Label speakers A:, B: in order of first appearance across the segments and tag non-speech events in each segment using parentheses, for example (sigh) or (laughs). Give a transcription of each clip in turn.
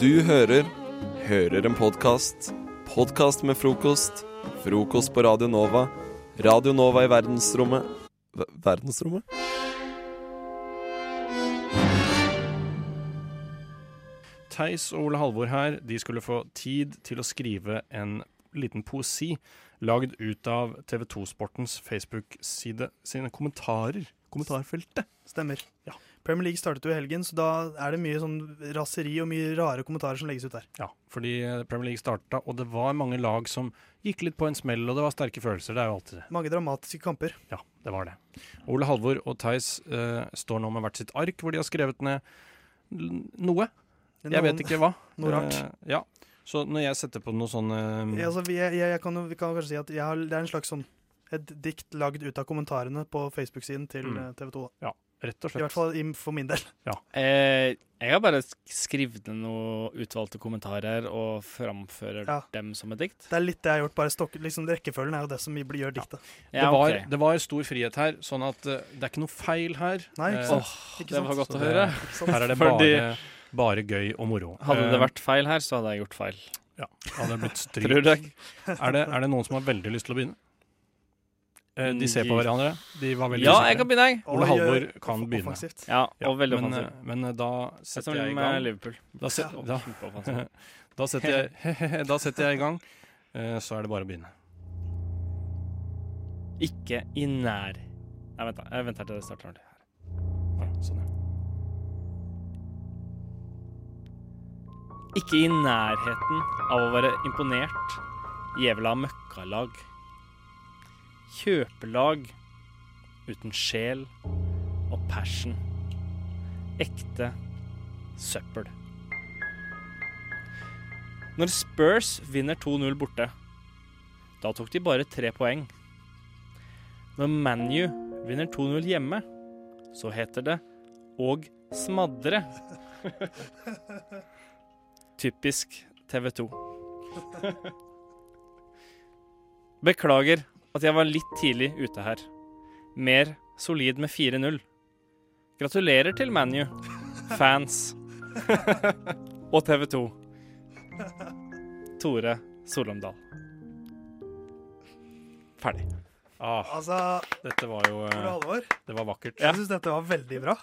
A: Du hører Hører en podkast. Podkast med frokost. Frokost på Radio Nova. Radio Nova i verdensrommet Ver- Verdensrommet?
B: Theis og Ole Halvor her, de skulle få tid til å skrive en liten poesi lagd ut av TV 2-sportens Facebook-side sine kommentarer. Kommentarfeltet.
C: Stemmer. Premier League startet jo i helgen, så da er det mye sånn raseri og mye rare kommentarer som legges ut der.
B: Ja, fordi eh, Premier League starta, og det var mange lag som gikk litt på en smell, og det var sterke følelser. Det er jo alltid det.
C: Mange dramatiske kamper.
B: Ja, det var det. Ole Halvor og Theis eh, står nå med hvert sitt ark, hvor de har skrevet ned l- noe. Jeg vet ikke hva.
C: noe rart.
B: Eh, ja. Så når jeg setter på noe sånn eh,
C: Ja, altså, vi- jeg, jeg, jeg kan, jo- vi kan kanskje si at jeg har, det er en slags sånn et dikt lagd ut av kommentarene på Facebook-siden til eh,
B: Mm.
C: TV 2.
B: Ja, rett og
C: I hvert
B: slett.
C: fall i, for min del.
D: Eh, jeg har bare sk- skrevet ned noen utvalgte kommentarer og framfører
C: Ja.
D: dem som et dikt.
C: Det er litt det jeg har gjort. bare stokk, liksom Rekkefølgen er jo det som blir- gjør diktet.
D: Ja,
B: det, var,
D: ok.
B: det var stor frihet her, sånn at eh, det er ikke noe feil her.
C: Nei, ikke
B: Eh,
C: sant?
D: Åh,
C: Ikke
D: det
C: sant?
D: var godt
B: Så
D: å
B: det-
D: høre.
C: Ikke sant?
B: Her er det bare,
D: Fordi-
B: bare gøy og moro.
D: Hadde det
B: Eh,
D: vært feil her, så hadde jeg gjort feil.
B: hadde det
D: (laughs)
B: blitt stryk.
D: Tror jeg.
B: Er det, er det noen som har veldig lyst til å begynne? Eh, de ser på
D: Mm,
B: hverandre. De var veldig
D: Ja,
B: usikre.
D: jeg kan begynne, jeg.
B: Ole
C: Oi,
B: Halvor
C: eh,
B: kan
C: off-
B: begynne.
C: Offensivt.
D: Ja,
B: Ja,
D: og veldig
B: men,
D: offensiv.
B: eh, Men, eh, da
D: Det er
B: setter
D: som
B: jeg i
D: med
B: gang.
D: Liverpool.
B: Da, set,
D: Ja,
B: da,
D: kjempeoffensiv.
B: (laughs) da, setter jeg, (laughs) da setter jeg i gang. Eh, så er det bare å begynne.
D: Ikke i nær Nei, vent, da. Jeg venter til det starter ordentlig.
B: Ja, sånn, ja.
D: Ikke i nærheten av å være imponert. Jævla møkkalag. Kjøpelag uten sjel og passion. Ekte søppel. Når Spurs vinner 2-0 borte, da tok de bare tre poeng. Når ManU vinner 2-0 hjemme, så heter det og smadre. Typisk TV 2. Beklager at jeg var litt tidlig ute her. Mer solid med 4-0. Gratulerer til ManU, fans (laughs) og TV 2. Tore Solomdal. Ferdig.
B: Ah,
C: Altså,
B: dette var jo
C: Ole
B: eh,
C: Halvor,
B: Det var vakkert.
C: jeg syns dette var veldig bra.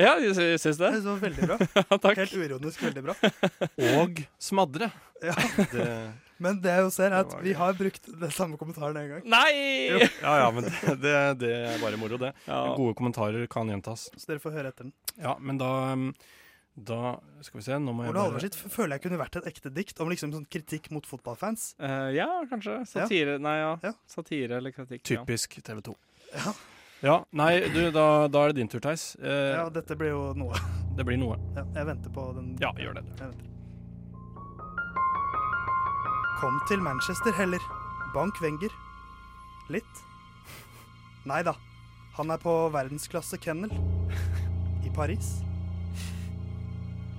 D: Ja, jeg sy- syns det.
C: Jeg synes det var
B: (laughs)
C: veldig bra.
D: Takk.
C: Helt uironisk veldig bra.
B: Og smadre.
C: Ja.
B: Det,
C: (laughs) Men det jeg jo ser, er
B: Det
C: at
B: var
C: vi
B: gøy.
C: har brukt den samme kommentaren en gang.
D: Nei!
B: ja, ja, men det, det, det er bare moro, det.
D: Ja.
B: Gode kommentarer kan gjentas.
C: Så dere får høre etter den.
B: Ja, men da um, Da skal vi se. Nå må jeg
C: Ole Halvor
B: bare
C: sitt f- føler jeg kunne vært et ekte dikt om liksom sånn kritikk mot fotballfans.
D: Eh, ja, kanskje. Satire. Nei,
C: Ja.
D: ja. Satire eller kritikk. ja.
B: Typisk TV 2.
C: Ja.
B: Ja, nei, du, da, da er det din tur, Theis. Eh,
C: Ja, dette blir jo noe. (laughs)
B: Det blir noe.
C: Ja, jeg venter på den.
B: Ja, gjør det.
C: Jeg venter. Kom til Manchester heller. Bank Wenger. Litt. Nei da. Han er på verdensklasse kennel. I Paris.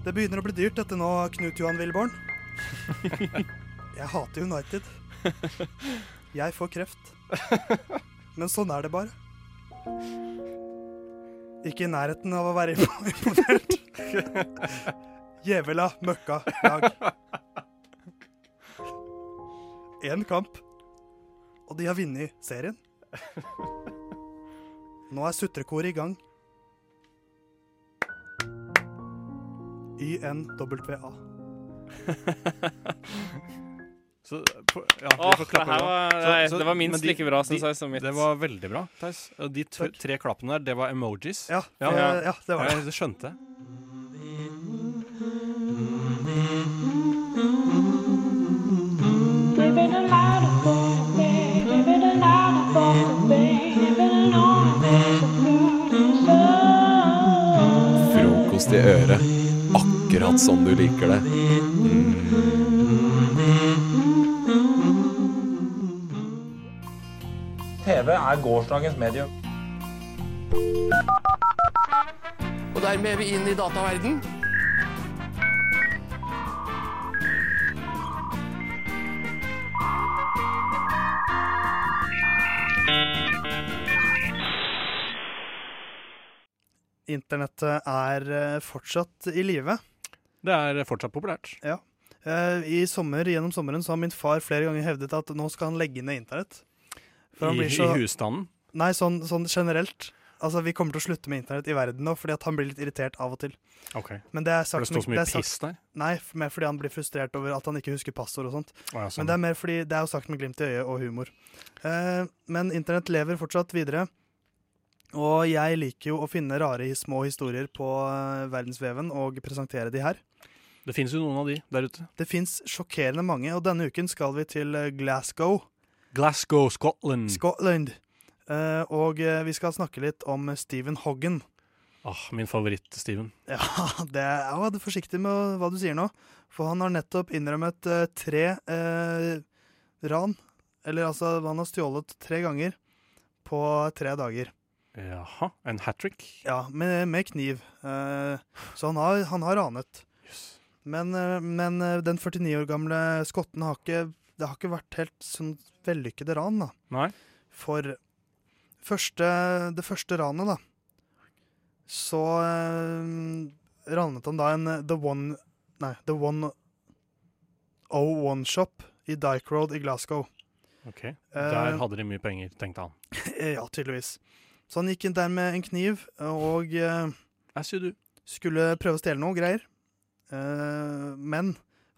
C: Det begynner å bli dyrt dette nå, Knut Johan
B: (laughs)
C: Wilborn. Jeg hater United. Jeg får kreft. Men sånn er det bare. Ikke i nærheten av å være imponert. (laughs) Jævla møkka lag. Én kamp, og de har vunnet serien. Nå er sutrekoret i gang. YNWA.
B: Så, på, ja, vi
D: Åh,
B: får
D: det,
B: klappe
D: her
B: nå.
D: var,
B: Så-
D: nei,
B: så-
D: det var
B: men
D: minst
B: de-
D: like bra,
B: de-
D: syns jeg, som mitt.
B: Det var veldig bra, Theis. Og De t
C: Takk.
B: tre klappene der, det var emojis.
C: Ja,
B: Ja.
C: eh, ja, det var det.
B: Jeg skjønte det.
E: Living a life of pain, living a life of pain, living a life of beauty, so.
A: Frokost i øret. Akkurat som du liker det. Mm.
F: TV er gårsdagens medium.
G: Og dermed er vi inn i dataverden.
C: Internettet er eh, fortsatt i live.
B: Det er fortsatt populært.
C: Eh, I sommer, Gjennom sommeren så har min far flere ganger hevdet at nå skal han legge ned internett. For han
B: I,
C: blir så,
B: I husstanden.
C: nei, sånn, sånn generelt. Altså, Vi kommer til å slutte med internett i verden nå, fordi at han blir litt irritert av og til.
B: Ok.
C: Men det er
B: For
C: sagt,
B: det står så
C: det
B: mye
C: er sagt,
B: piss der.
C: Nei, f- mer fordi han blir frustrert over at han ikke husker passord og sånt.
B: Å, ja, sånn.
C: Men det er mer fordi det er jo sagt med glimt i øyet og humor. Eh, men internett lever fortsatt videre. Og jeg liker jo å finne rare his- små historier på eh, verdensveven og presentere de her.
B: det finnes jo noen av de der ute.
C: Det fins sjokkerende mange, og denne uken skal vi til eh, Glasgow,
B: Glasgow, Scotland.
C: Scotland. Eh, og eh, vi skal snakke litt om Stephen Hoggan.
B: Åh, min favoritt, Steven.
C: (laughs) Ja, det er, ja, vær forsiktig med hva du sier nå. For han har nettopp innrømmet eh, tre eh, ran. Eller altså, han har stjålet tre ganger på tre dager.
B: Jaha, en hat trick?
C: Ja, med, med kniv. Eh, så han har, han har ranet.
B: Yes.
C: Men, eh, men eh, den 49 år gamle skotten har ikke Det har ikke vært helt sånn vellykkede ran, da.
B: Nei.
C: For første, det første ranet, da, så eh, ranet han da en eh, The One Nei, The One O1 Shop i Dyke Road i Glasgow.
B: Ok. Der hadde de mye penger, tenkte han.
C: Eh, ja, tydeligvis. Så han gikk inn der med en kniv og eh,
B: As you do.
C: skulle prøve å stjele noe greier. Eh, men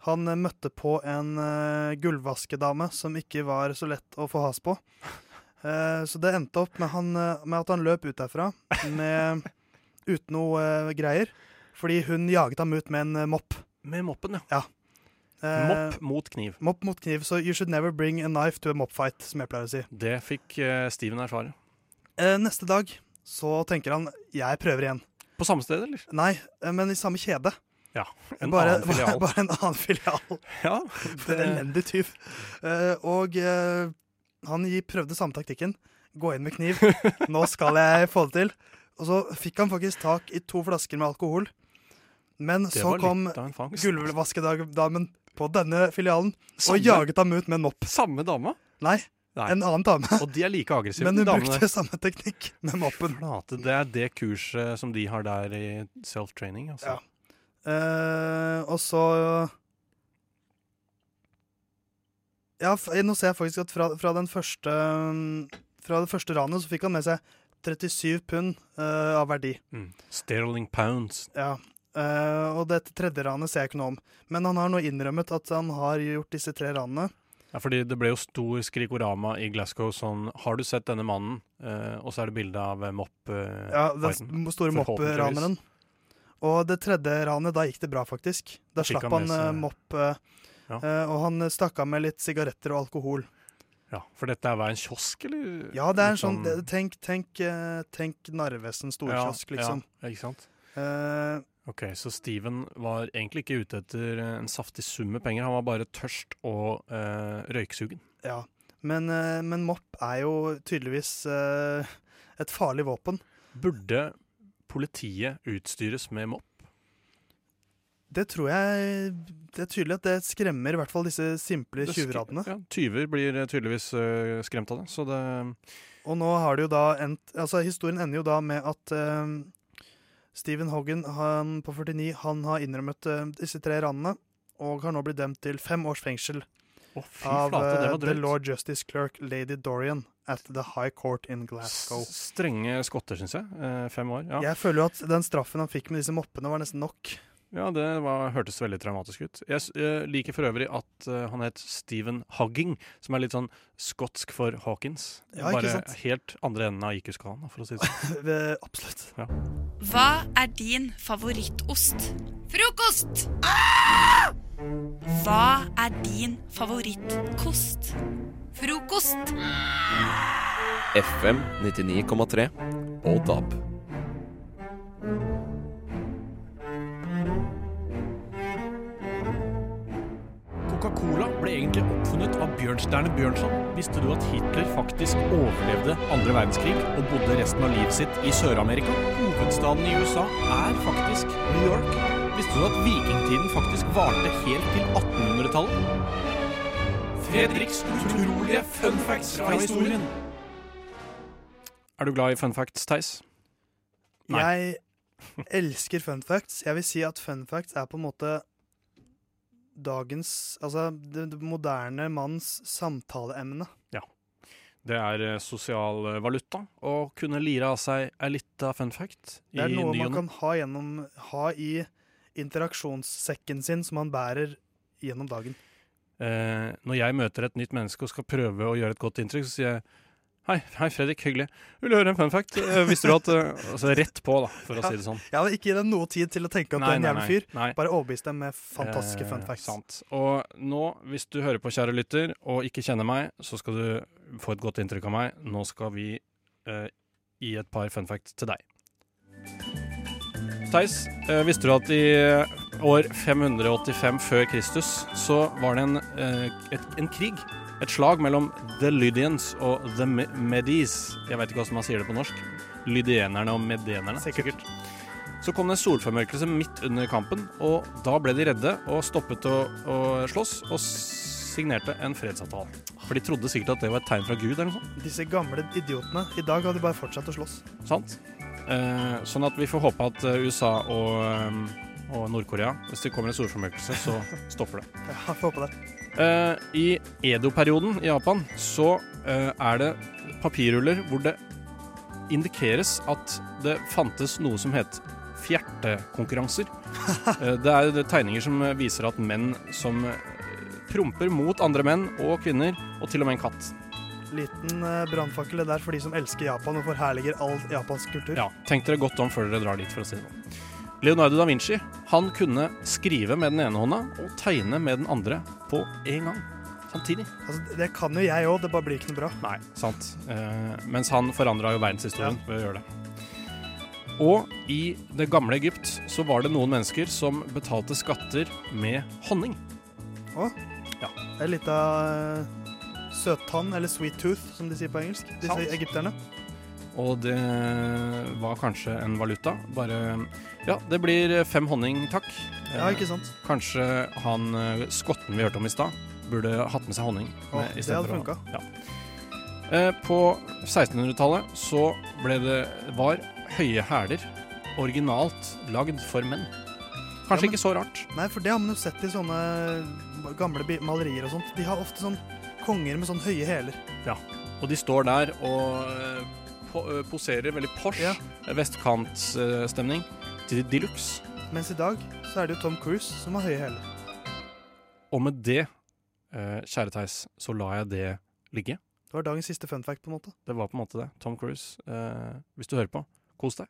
C: han eh, møtte på en eh, gullvaskedame som ikke var så lett å få has på. Eh, så det endte opp med, han, eh, med at han løp ut derfra med, uten noe eh, greier. Fordi hun jaget ham ut med en eh, mopp.
B: Med moppen, ja.
C: Eh,
B: Mopp mot kniv.
C: Mopp mot kniv, så you should never bring a knife to a mop fight, som jeg pleier å si.
B: Det fikk eh, Steven erfare.
C: Eh, neste dag så tenker han jeg prøver igjen.
B: På samme sted, eller?
C: Nei, eh, men i samme kjede.
B: Ja. En
C: (laughs) bare,
B: annen filial.
C: bare en annen filial.
B: ja,
C: (laughs) For en
B: det,
C: elendig tyv. Eh, og eh, han gi- prøvde samme taktikken. Gå inn med
B: (laughs)
C: kniv. Nå skal jeg få det til. Og så fikk han faktisk tak i to flasker med alkohol. Men
B: det
C: så
B: var
C: kom
B: litt av en fangst.
C: gulvvaskedamen på denne filialen
B: Samme-
C: og jaget ham ut med en mopp.
B: Samme dama,
C: Nei,
B: Nei.
C: en annen dame.
B: og de er like aggressive.
C: Men hun
B: de damene.
C: brukte samme teknikk med moppen.
B: Flate, det er det kurset som de har der i self-training, altså.
C: Ja. Eh, og så Ja, f nå ser jeg faktisk at fra, fra den første um, Fra det første ranet så fikk han med seg 37 pund eh, av verdi.
B: Mm. Sterling pounds.
C: Ja. Eh, og dette tredje ranet ser jeg ikke noe om. Men han har nå innrømmet at han har gjort disse tre ranene.
B: Ja, fordi det ble jo stor skrikorama i Glasgow sånn Har du sett denne mannen? Eh, og så er det bilde av eh, mopp eh,
C: Ja, Den
B: fighten.
C: s- store
B: Forhåpentligvis.
C: mopperaneren. Og det tredje ranet, da gikk det bra, faktisk. Da
B: fikk
C: slapp
B: han
C: han
B: med
C: eh,
B: seg-
C: mopp, eh,
B: Ja.
C: eh, og han stakk av med litt sigaretter og alkohol.
B: Ja, for dette er hva, en kiosk, eller?
C: Ja, det er en
B: Litt
C: sånn det- Tenk, tenk, eh, tenk Narvesen storkiosk,
B: Ja,
C: liksom.
B: Ja, ikke sant?
C: Eh,
B: Ok, så Steven var egentlig ikke ute etter eh, en saftig sum med penger, han var bare tørst og eh, røyksugen.
C: ja. Men, eh, men mopp er jo tydeligvis eh, et farlig våpen.
B: Burde politiet utstyres med mopp?
C: Det tror jeg Det er tydelig at det skremmer i hvert fall disse simple
B: Det skri-
C: tjuvradene.
B: Ja, tyver blir eh, tydeligvis eh, skremt av det, så det
C: Og nå har det jo da endt Altså, historien ender jo da med at eh, Stephen Hoggan han på 49 han har innrømmet eh, disse tre ranene. Og har nå blitt dømt til fem års fengsel
B: Å, fy
C: av
B: flate, det
C: eh,
B: var
C: The
B: drøyt.
C: Lord Justice Clerk Lady Dorian at The High Court in Glasgow.
B: S- Strenge skotter, syns jeg. Eh, fem år. Ja.
C: Jeg føler jo at den straffen han fikk med disse moppene, var nesten nok.
B: ja, det var, hørtes veldig traumatisk ut. Jeg s- eh, liker for øvrig at eh, han het Stephen Hugging, som er litt sånn skotsk for Hawkins.
C: Ja, ikke
B: Bare
C: sant?
B: helt andre enden av IQ-skalaen, for å si det sånn.
C: (laughs) Ved- Absolutt.
H: Hva er din favorittost? Frokost! Ah! Hva er din favorittkost? Frokost!
A: FM 99,3 og DAB.
I: Coca-Cola ble egentlig oppfunnet av Bjørnstjerne Bjørnson. Visste du at Hitler faktisk overlevde andre verdenskrig og bodde resten av livet sitt i Sør-Amerika? Hovedstaden i USA er faktisk New York. Visste du at vikingtiden faktisk varte helt til 1800-tallet? Fredriks utrolige fun facts fra historien.
B: Er du glad i fun facts, Theis? Nei.
C: Jeg elsker fun facts. Jeg vil si at fun facts er på en måte dagens Altså det, det moderne manns samtaleemne.
B: Det er eh, sosial eh, valuta å kunne lire av seg ei lita fun fact.
C: Det er
B: i
C: noe
B: ny og
C: man
B: ne.
C: kan ha, gjennom, ha i interaksjonssekken sin som man bærer gjennom dagen.
B: Eh, når jeg møter et nytt menneske og skal prøve å gjøre et godt inntrykk, så sier jeg Hei, hei Fredrik, hyggelig. Vil du høre en fun fact? Eh, visste du at eh, Altså rett på, da, for å si det sånn.
C: Jeg hadde ikke gitt dem noe tid til å tenke at du er en jævlig fyr.
B: nei.
C: Bare overbevist dem med fantastiske
B: Eh,
C: fun facts.
B: Sant. Og nå, hvis du hører på, kjære lytter, og ikke kjenner meg, så skal du få et godt inntrykk av meg. Nå skal vi eh, gi et par fun facts til deg. Theis, eh, visste du at i eh, år 585 før Kristus så var det en, eh, et, en krig, et slag mellom the Lydians og the Me- Medes. Jeg vet ikke hvordan man sier det på norsk. Lydienerne og medenerne.
C: Sikkert.
B: Så kom det en solformørkelse midt under kampen, og da ble de redde og stoppet å, å slåss og signerte en fredsavtale. For de trodde sikkert at det var et tegn fra Gud eller noe sånt.
C: Disse gamle idiotene. I dag hadde de bare fortsatt å slåss.
B: Sant? Eh, sånn at vi får håpe at eh, USA og, eh, og Nord-Korea, hvis det kommer en solformørkelse,
C: (laughs)
B: så stopper det.
C: Ja, jeg får håpe det.
B: Eh, I Edo-perioden i Japan så eh, er det papirruller hvor det indikeres at det fantes noe som het
C: (laughs)
B: fjertekonkurranser. Eh, det er det tegninger som eh, viser at menn som eh, promper mot andre menn og kvinner, og til og med en katt.
C: Liten eh, brannfakkel det der for de som elsker Japan og forherliger all japansk kultur.
B: Ja, Tenk dere godt om før dere drar dit, for å si det sånn. Leonardo da Vinci han kunne skrive med den ene hånda og tegne med den andre på en gang. Samtidig.
C: Altså, det kan jo jeg òg, det bare blir ikke noe bra.
B: Nei, sant. Eh, mens han forandra jo verdenshistorien ved å gjøre det. Og i det gamle Egypt så var det noen mennesker som betalte skatter med honning.
C: En lita uh, søttann, eller sweet tooth, som de sier på engelsk. Disse
B: Sant.
C: egypterne.
B: Og det var kanskje en valuta. Bare Ja, det blir fem honning, takk. Eh,
C: Ja, ikke sant?
B: Kanskje han eh, skotten vi hørte om i stad, burde hatt med seg honning.
C: Å,
B: med- i
C: det
B: stedet
C: hadde
B: for å-
C: funka.
B: Ja. Eh, På 1600-tallet så ble det var høye hæler originalt lagd for menn.
C: Ja,
B: Kanskje
C: men-
B: ikke så rart.
C: Nei, for det har man jo sett i sånne gamle bi- malerier og sånt. De har ofte sånn konger med sånn høye hæler.
B: Og de står der og eh, po eh, poserer veldig Porsche,
C: Ja.
B: vestkantstemning, til de luxe.
C: Mens i dag så er det jo Tom Cruise som har høye hæler.
B: Og med det, eh, kjære Theis, så lar jeg det ligge.
C: Det var dagens siste fun fact, på en måte.
B: Det var på en måte det. Tom Cruise, eh, hvis du hører på, kos deg.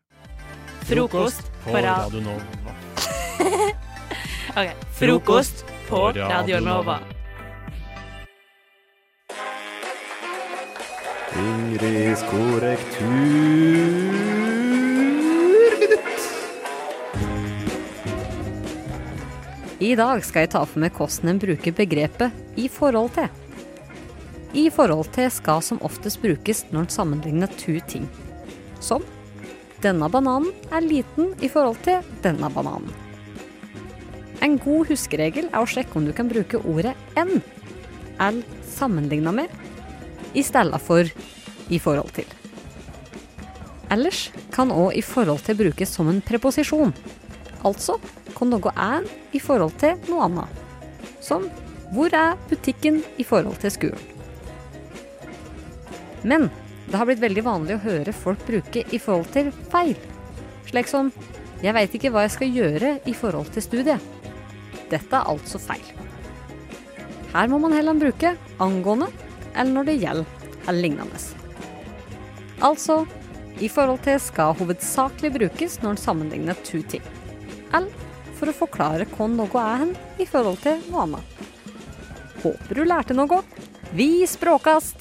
J: Frokost på radio.
B: Nova.
J: Ok, Frokost på
B: på Radio
J: Radio Nova.
A: Ingrids korrekturminutt.
K: I dag skal jeg ta for meg hvordan en bruker begrepet i forhold til. I forhold til skal som oftest brukes når en sammenligner to ting. Som denne bananen er liten i forhold til denne bananen. En god huskeregel er å sjekke om du kan bruke ordet enn eller sammenligna med i stedet for i forhold til. Ellers kan òg i forhold til brukes som en preposisjon. Altså kan noe er i forhold til noe annet. Som hvor er butikken i forhold til skolen? Men det har blitt veldig vanlig å høre folk bruke i forhold til feil. Slik som jeg veit ikke hva jeg skal gjøre i forhold til studiet. Dette er altså feil. Her må man heller bruke angående eller når det gjelder eller lignende. Altså i forhold til skal hovedsakelig brukes når en sammenligner to ting eller for å forklare hvor noe er hen i forhold til noe annet. Håper du lærte noe. Vi språkast!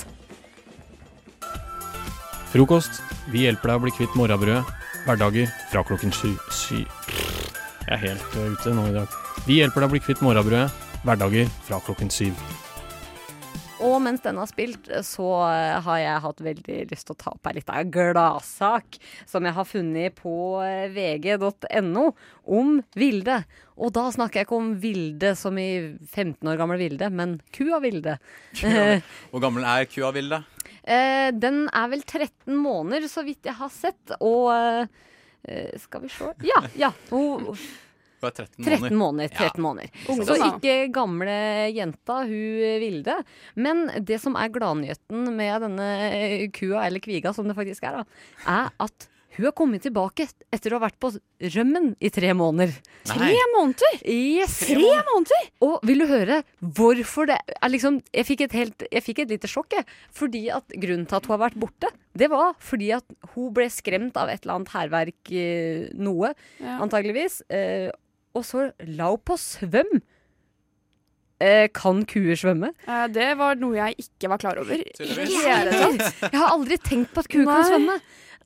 B: Frokost. Vi hjelper deg å bli kvitt morrabrødet. Hverdager fra klokken sju. Sy... Jeg er helt eh, ute nå i dag. Vi hjelper deg å bli kvitt morrabrødet. Hverdager fra klokken syv.
K: Og mens denne har spilt, så eh, har jeg hatt veldig lyst til å ta opp ei lita gladsak som jeg har funnet på eh, vg.no om Vilde. Og da snakker jeg ikke om Vilde som i 15 år gamle Vilde, men kua Vilde.
L: (laughs)
K: (laughs) Eh,
M: Hvor gammel er kua Vilde?
K: eh, den er vel 13 måneder, så vidt jeg har sett. Og eh, Eh, skal vi se Ja, ja. Hun,
M: Hun er 13 måneder.
K: 13 måneder.
M: Ja.
K: 13 måneder.
M: Ungdom,
K: så
M: da.
K: ikke gamle jenta, hun eh, ville det. Men det som er gladnyheten med denne eh, kua, eller kviga som det faktisk er, da, er at hun har kommet tilbake etter å ha vært på rømmen i tre måneder.
J: Tre måneder?
K: Yes.
J: Tre måneder?
K: Og vil du høre hvorfor det er liksom Jeg fikk et, helt, jeg fikk et lite sjokk, jeg. Fordi at grunnen til at hun har vært borte, det var fordi at hun ble skremt av et eller annet hærverk, eh, noe,
J: Ja.
K: antageligvis. Eh, og så la hun på svøm. Eh, kan kuer svømme?
L: Eh, Det var noe jeg ikke var klar over.
K: Ikke jeg heller. (laughs) Jeg har aldri tenkt på at ku kan
L: Nei.
K: svømme.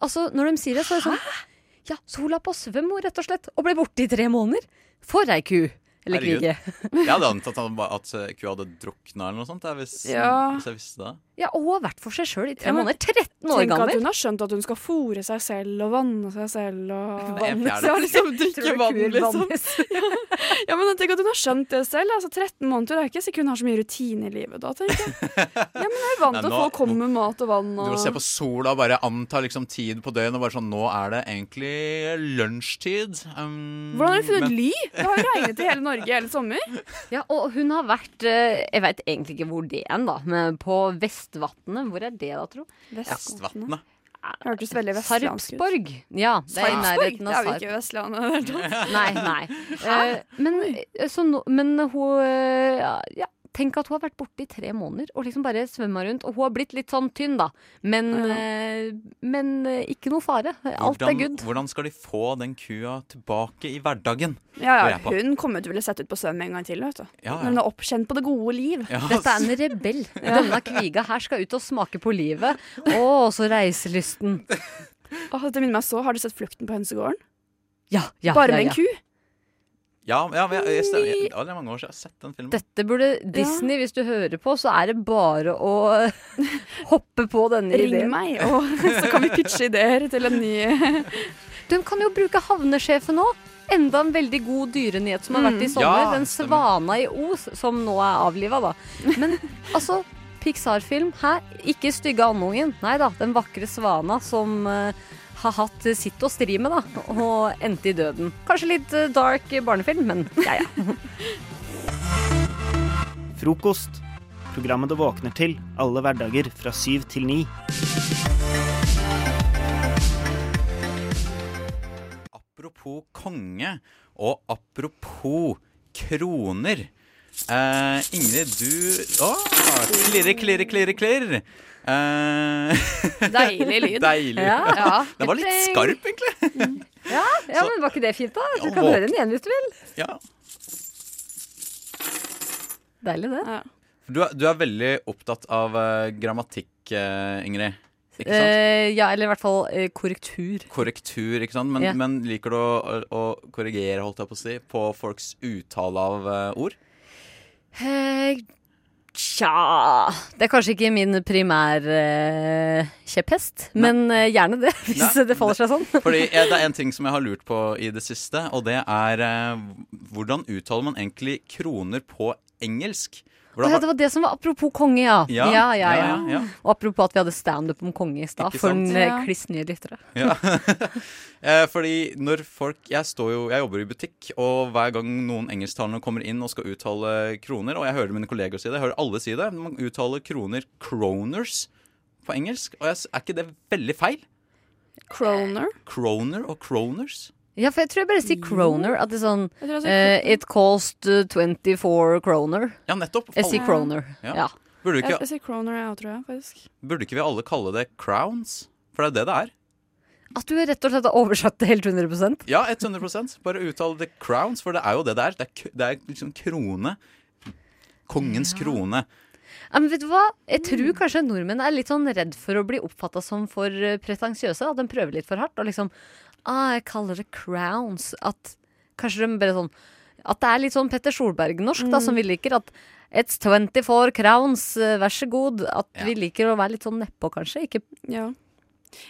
K: Altså, når de sier det, så er det sånn Ja, så hun la på svøm, hun, rett og slett. Og ble borte i tre måneder. For ei ku. Eller
M: Herregud.
K: kvige.
M: Jeg hadde antatt at han ba- at eh, kua hadde drukna eller noe sånt. jeg, Hvis,
L: Ja.
M: hvis jeg visste det.
K: Ja, og hun har vært for seg sjøl i tre
L: Ja, men
K: måneder. 13 år
L: Tenk at
K: gammel.
L: hun har skjønt at hun skal fôre seg selv og vanne seg selv og
K: Vanne
L: Vanne
K: seg.
L: seg, liksom drikke
K: Tror du
L: vann,
K: kuer
L: liksom.
K: vannes?
L: Ja, men tenk at hun har skjønt det selv. Altså, 13 måneder er ikke sikkert hun har så mye rutine i livet da, tenker jeg. Ja, men jeg er vant
M: Nei,
L: til at
M: nå-
L: folk kommer med mat og vann
M: Du
L: og
M: må se på sola og bare anta liksom tid på døgnet. og Bare sånn, nå er det egentlig lunsjtid. Um,
L: Hvordan har hun funnet
M: men-
L: ly? Det har jo
M: (laughs)
L: regnet (laughs) i hele Norge hele sommer.
K: Ja, og hun har vært eh, Jeg veit egentlig ikke hvor det er, da, men på Vestvatnet. Hvor er det, da, tro?
M: Vestvatnet.
L: Hørtes veldig vestlandsk ut.
K: Sarpsborg. Ja, det er i
L: Sarpsborg?
K: nærheten
L: Det
K: av
L: er jo ikke
K: Sarp.
L: Vestlandet i
K: (laughs)
L: det sånn. hele tatt.
K: Nei, nei. Eh, men, eh, så nå- men hun eh, ja, Tenk at hun har vært borte i tre måneder og liksom bare svømma rundt. Og hun har blitt litt sånn tynn, da. Men, eh, men eh, ikke noe fare. Alt er
M: Hvordan,
K: good.
M: hvordan skal de få den kua tilbake i hverdagen?
L: Ja,
M: lurer
L: ja,
M: jeg på.
L: hun kommer til å ville sett ut på svøm en gang til, vet du.
M: Ja, ja.
L: Når hun er oppkjent på det gode liv.
M: Ja. altså.
K: Dette er en
L: (laughs)
K: rebell. Denne kviga her skal ut og smake på livet. Å, så reiselysten.
L: Åh, dette minner meg så. Har du sett Flukten på hønsegården?
K: Ja, ja,
L: Bare
K: ja,
L: med en
K: ja.
L: ku?
M: Ja, ja men jeg, jeg, stemmer. jeg, det er aldri mange år siden jeg har sett den filmen.
K: Dette burde Disney, hvis du hører på, så er det bare å (laughs) hoppe på denne
L: Ring
K: ideen.
L: meg, og (laughs) så kan vi pitche ideer til en ny
K: (laughs) De kan jo bruke havnesjefen òg. Enda en veldig god dyrenyhet som har vært i
L: Mm.
K: sommer.
L: Ja,
K: den svana i Os, som nå er avliva, da. Men
L: (laughs)
K: altså, Pixar-film her. Ikke stygge andungen. Nei da, den vakre svana som eh, har hatt sitt å stri med, da. Og endte i døden. Kanskje litt eh, dark barnefilm, men ja ja.
N: Frokost. Programmet du våkner til alle hverdager fra syv til ni.
M: Apropos konge, og apropos kroner. Eh, Ingrid, du Å! Klirre, klirre, klirre, klirr. Eh, (laughs)
K: Deilig lyd.
M: Deilig. (laughs)
K: Ja. Ja. eh, mm.
M: Den var litt skarp, egentlig.
K: Ja, ja men var ikke det fint, da? Du
M: Ja,
K: kan
M: våk-
K: høre den igjen hvis du vil.
M: Ja.
K: Deilig, det.
M: Du er, du er veldig opptatt av eh, grammatikk, eh, Ingrid. Ikke sant?
K: Eh, ja, eller i hvert fall eh, korrektur.
M: Korrektur, ikke sant? Men,
K: Ja.
M: men liker du å, å å korrigere, holdt jeg på å si, på folks uttale av eh, ord?
K: Eh, Tja Det er kanskje ikke min primærkjepphest, men eh, gjerne det, (laughs) hvis det faller seg sånn.
M: (laughs) Fordi eh, det er en ting som jeg har lurt på i det siste, og det er eh, hvordan uttaler man egentlig kroner på engelsk? Hvordan,
K: Å ja, det var det som var apropos konge, ja.
M: Ja,
K: ja, ja,
M: ja,
K: ja.
M: ja, ja.
K: Og apropos at vi hadde standup om konge i stad,
M: Ikke
K: for
M: sant?
K: den eh,
M: Ja.
K: kliss nye lyttere.
M: (laughs) Ja. (laughs) Eh, Fordi når folk Jeg står jo, jeg jobber i butikk, og hver gang noen engelsktalende kommer inn og skal uttale kroner Og jeg hører mine kolleger si det, jeg hører alle si det. Man uttaler kroner 'kroners' på engelsk. Og jeg, s- er ikke det veldig feil?
L: Kroner.
M: Kroner og 'kroners'?
K: Ja, for jeg tror jeg bare sier kroner. At det er sånn
L: Jeg tror jeg sa
K: eh, It cost eh, 24 kroner.
M: Ja, nettopp.
K: Jeg sier kroner.
M: Ja.
K: Ja.
M: Burde,
L: Jeg,
M: ikke,
L: jeg sier Kroner, jeg òg, tror jeg. faktisk.
M: burde ikke vi alle kalle det 'crowns'? For det er det det er.
K: At du rett og slett har oversatt det helt 100
M: Ja, 100 Bare uttale det 'crowns', for det er jo det det er. Det er, k- det er liksom krone. Kongens krone.
K: Ja, men vet du hva? Jeg
L: Mm.
K: tror kanskje nordmenn er litt sånn redd for å bli oppfatta som for eh, pretensiøse. At de prøver litt for hardt. Og liksom ah, Jeg kaller det crowns. At kanskje de bare sånn At det er litt sånn Petter Solberg-norsk, da, som
L: Mm.
K: vi liker. At it's 24 crowns, eh, vær så god. At vi liker å være litt sånn nedpå, kanskje. Ikke
L: Ja.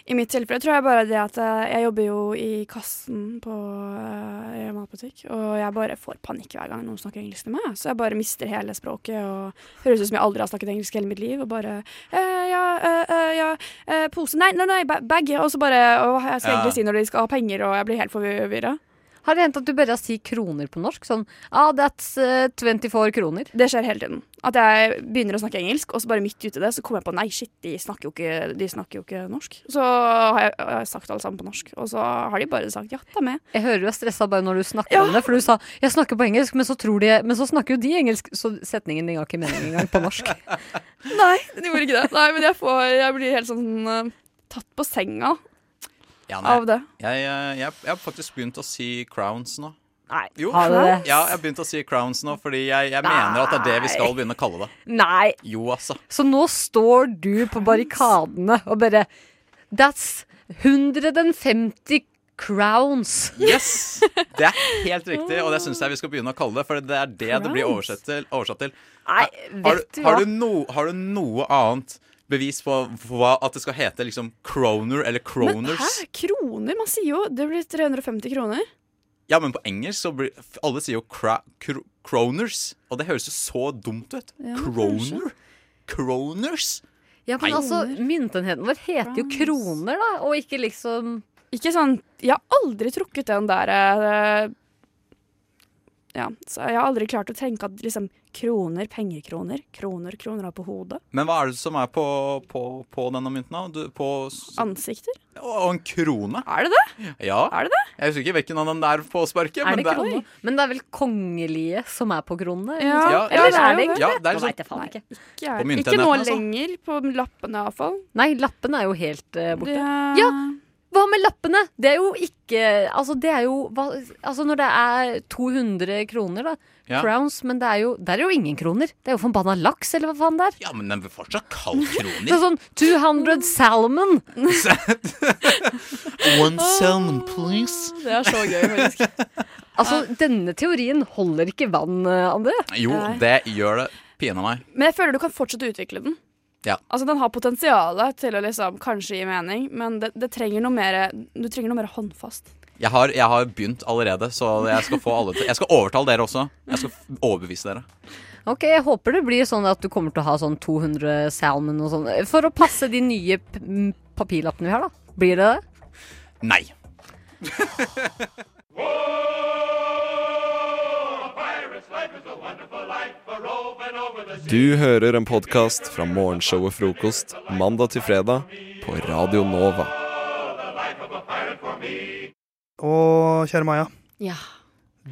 L: I mitt tilfelle tror jeg bare det at eh, jeg jobber jo i kassen på eh, i en matbutikk, og jeg bare får panikk hver gang noen snakker engelsk til meg. Så jeg bare mister hele språket og høres ut som jeg aldri har snakket engelsk hele mitt liv. Og bare eh, ja, eh, eh, ja, eh, pose Nei, nei, nei, ba- bag. Og så bare Å, jeg skal
K: Ja.
L: egentlig si når de skal ha penger, og jeg blir helt forvirra.
K: Har det hendt at du bare sier kroner på norsk? Sånn ah, that's eh, 24 kroner.
L: Det skjer hele tiden. At jeg begynner å snakke engelsk, og så bare midt ute i det, så kommer jeg på nei, shit, de snakker jo ikke, de snakker jo ikke norsk. Så har jeg, jeg har sagt alle sammen på norsk, og så har de bare sagt
K: (laughs)
L: ja, ta med.
K: Jeg hører du er stressa bare når du snakker om det, for du sa 'jeg snakker på engelsk', men så, tror de, men så snakker jo de engelsk, så setningen din har ikke mening engang på norsk.
L: (laughs) Nei, det gjorde ikke det. Nei, men jeg, får, jeg blir helt sånn eh, tatt på senga.
M: Ja,
L: Av det.
M: Jeg, eh, jeg, jeg har faktisk begynt å si crowns nå.
K: Nei,
M: jo.
K: har du det?
M: Ja, jeg har begynt å si crowns nå, fordi jeg, jeg mener at det er det vi skal begynne å kalle det.
K: Nei!
M: Jo, altså.
K: Så nå står du på barrikadene og bare That's 150 crowns.
M: Yes! Det er helt riktig, og det syns jeg vi skal begynne å kalle det. For det er det det blir oversett til. Oversatt til.
K: Nei,
M: Har,
K: vet
M: du-
K: du
M: har,
K: hva?
M: du no, har du noe annet bevis på hva, at det skal hete liksom croner eller
L: Men
M: croners?
L: hæ, kroner? Man sier jo det blir 350 kroner.
M: Ja, men på engelsk så blir Alle sier jo cra, cr, croners, og det høres jo så dumt ut.
K: (laughs) Ja,
M: Croner? Croners?
K: Ja, men
M: Nei.
K: altså, myntenheten vår heter jo kroner, da, og ikke liksom
L: Ikke sånn Jeg har aldri trukket den der eh, Ja, så jeg har aldri klart å tenke at liksom kroner, pengekroner, kroner, kroner har på hodet.
M: Men hva er det som er på, på, på denne mynten? da? Du, på, s-
L: Ansikter.
M: og og en krone?
L: Er det det?
M: Ja.
L: Er det det?
M: Jeg husker ikke hvilken av dem det er på sparket.
K: Er det
M: men
K: kroner? Men det er vel kongelige som er på kronene? eller
L: Ja,
K: noe
M: ja,
K: sånt? eller
M: det er
K: er
M: jo det.
K: det egentlig
M: Ja, det er
K: Nå
M: sånn-
K: vet jeg faen ikke.
L: Ikke,
M: På
L: ikke nå
M: myntenheten, altså.
L: lenger, på lappene iallfall.
K: Nei, lappen er jo helt eh, borte.
L: Det-
K: Ja, hva med lappene? Det er jo ikke Altså, det er jo hva, Altså, når det er 200 kroner, da.
M: Ja.
K: Crowns, men det er jo, der er jo ingen kroner. Det er jo forbanna laks, eller hva faen det er.
M: Ja, men den blir fortsatt kalt
K: (laughs) Det er
M: kroner.
K: sånn 200 salmon.
M: One salmon, please.
K: Det er så gøy, faktisk. (laughs) Altså, denne teorien holder ikke vann, eh, André.
M: Jo, det gjør det. Pina meg.
L: Men jeg føler du kan fortsette å utvikle den.
M: Ja.
L: Altså, Den har potensial til å liksom kanskje gi mening, men det, det trenger noe mer, du trenger noe mer håndfast.
M: Jeg har, jeg har begynt allerede, så jeg skal få alle til Jeg skal overtale dere også. Jeg skal f- overbevise dere.
K: Ok, jeg håper det blir sånn at du kommer til å ha sånn 200 salmon og sånn. For å passe de nye p- m, papirlappene vi har, da. Blir det det?
M: Nei.
A: Du hører en podkast fra morgenshowet Frokost mandag til fredag på Radio Nova.
C: Og kjære Maja,
O: Ja.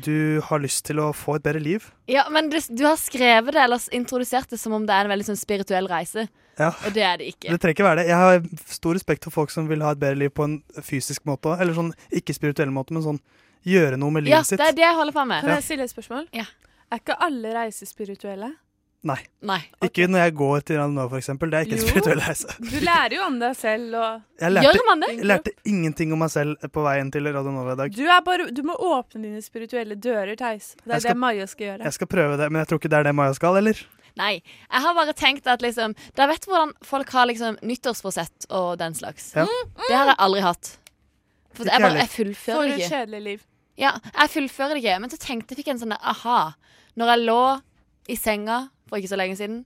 C: du har lyst til å få et bedre liv.
O: ja, men det, du har skrevet det, eller s- introdusert det som om det er en veldig sånn spirituell reise.
C: Ja.
O: Og det er det ikke.
C: Det trenger ikke være det. Jeg har stor respekt for folk som vil ha et bedre liv på en fysisk måte også. Eller sånn ikke spirituell måte, men sånn gjøre noe med livet
O: ja,
C: sitt.
O: det er det jeg holder på med.
C: Kan jeg Ja.
O: stille et spørsmål? Ja.
P: Er ikke alle reiser spirituelle?
C: Nei.
O: Nei.
C: Ikke når jeg går til Randonau, for eksempel. Det er ikke en
P: Jo.
C: spirituell reise.
P: Du lærer jo om deg selv og
C: Jeg lærte, Jeg lærte ingenting om meg selv på veien til Radio Nova i dag.
P: Du, er bare, du må åpne dine spirituelle dører, Theis. Det
C: Jeg
P: er
C: skal-
P: det Maja skal gjøre.
C: Jeg skal prøve det, men jeg tror ikke det er det Maja skal, eller?
O: Nei. Jeg har bare tenkt at liksom Dere vet hvordan folk har liksom nyttårsforsett og den slags.
C: Ja.
O: Det har jeg aldri hatt. For
P: Ikke
O: jeg bare
P: heller.
O: jeg fullfører
P: For
O: det
P: et
O: ikke.
P: kjedelig liv.
O: Ja, jeg fullfører det ikke. Men så tenkte jeg fikk en sånn der aha. Når jeg lå i senga for ikke så lenge siden,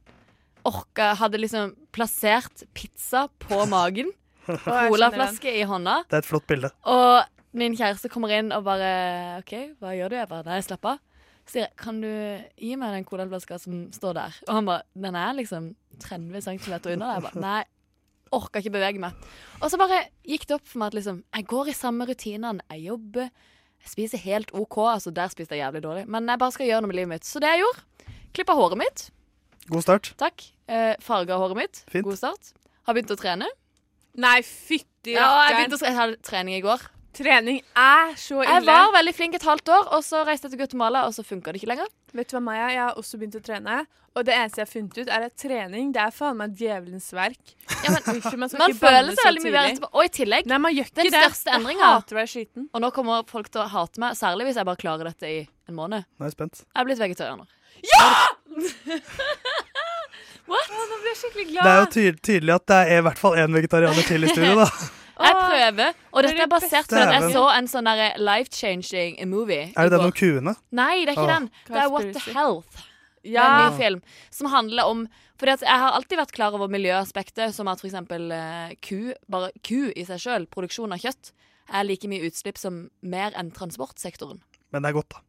O: orka Hadde liksom plassert pizza på magen,
C: (laughs)
O: colaflaske i hånda.
C: Det er et flott bilde.
O: Og min kjæreste kommer inn og bare OK, hva gjør du? Jeg bare Nei, slapp av. Så Sier jeg, kan du gi meg den colaflaska som står der? Og han bare Den er liksom 30 cm unna. Jeg bare Nei, orka ikke bevege meg. Og så bare gikk det opp for meg at liksom Jeg går i samme rutinene. Jeg jobber. Jeg spiser helt OK. Altså, der spiste jeg jævlig dårlig. Men jeg bare skal gjøre noe med livet mitt. Så det jeg gjorde, klippa håret mitt.
C: God start.
O: Takk. Eh, Farga håret mitt. God start. Har begynt å trene.
P: Nei, fytti
O: Ja, jeg
P: rakkeren.
O: begynte å tre- jeg hadde trening i går.
P: Trening er så ille.
O: Jeg var veldig flink et halvt år, og så reiste jeg til Guatemala, og så funka det ikke lenger.
P: Vet du hva, Maja? Jeg har også begynt å trene. Og det eneste jeg har funnet ut, er at trening det er faen meg djevelens verk. Unnskyld, man skal
O: Man
P: ikke banne
O: føler seg
P: så
O: veldig mye bedre
P: tidlig.
O: etterpå. Og i tillegg, den
P: ikke det.
O: største
P: Jeg
O: endringa
P: hater Og
O: nå kommer folk til å hate meg, særlig hvis jeg bare klarer dette i en måned.
C: Nå er jeg spent.
P: (laughs)
O: Jeg er blitt vegetarianer. Ja! What?
P: nå blir jeg skikkelig glad.
C: Det er jo ty- tydelig at det er i hvert fall én vegetarianer til i
O: (laughs)
C: studio, da.
O: Jeg prøver, og dette er basert på at jeg
C: Dæven.
O: så en sånn derre life-changing movie.
C: Er det
O: i
C: den om
O: går.
C: kuene?
O: Nei, det er ikke
C: Åh.
O: den. Det er What the
P: Conspiracy.
O: Health. Ja.
P: Ja.
O: En ny film som handler om Fordi at jeg har alltid vært klar over miljøaspektet, som at f.eks. Uh, ku, bare ku i seg sjøl, produksjon av kjøtt, er like mye utslipp som mer enn transportsektoren.
C: Men det er godt, da.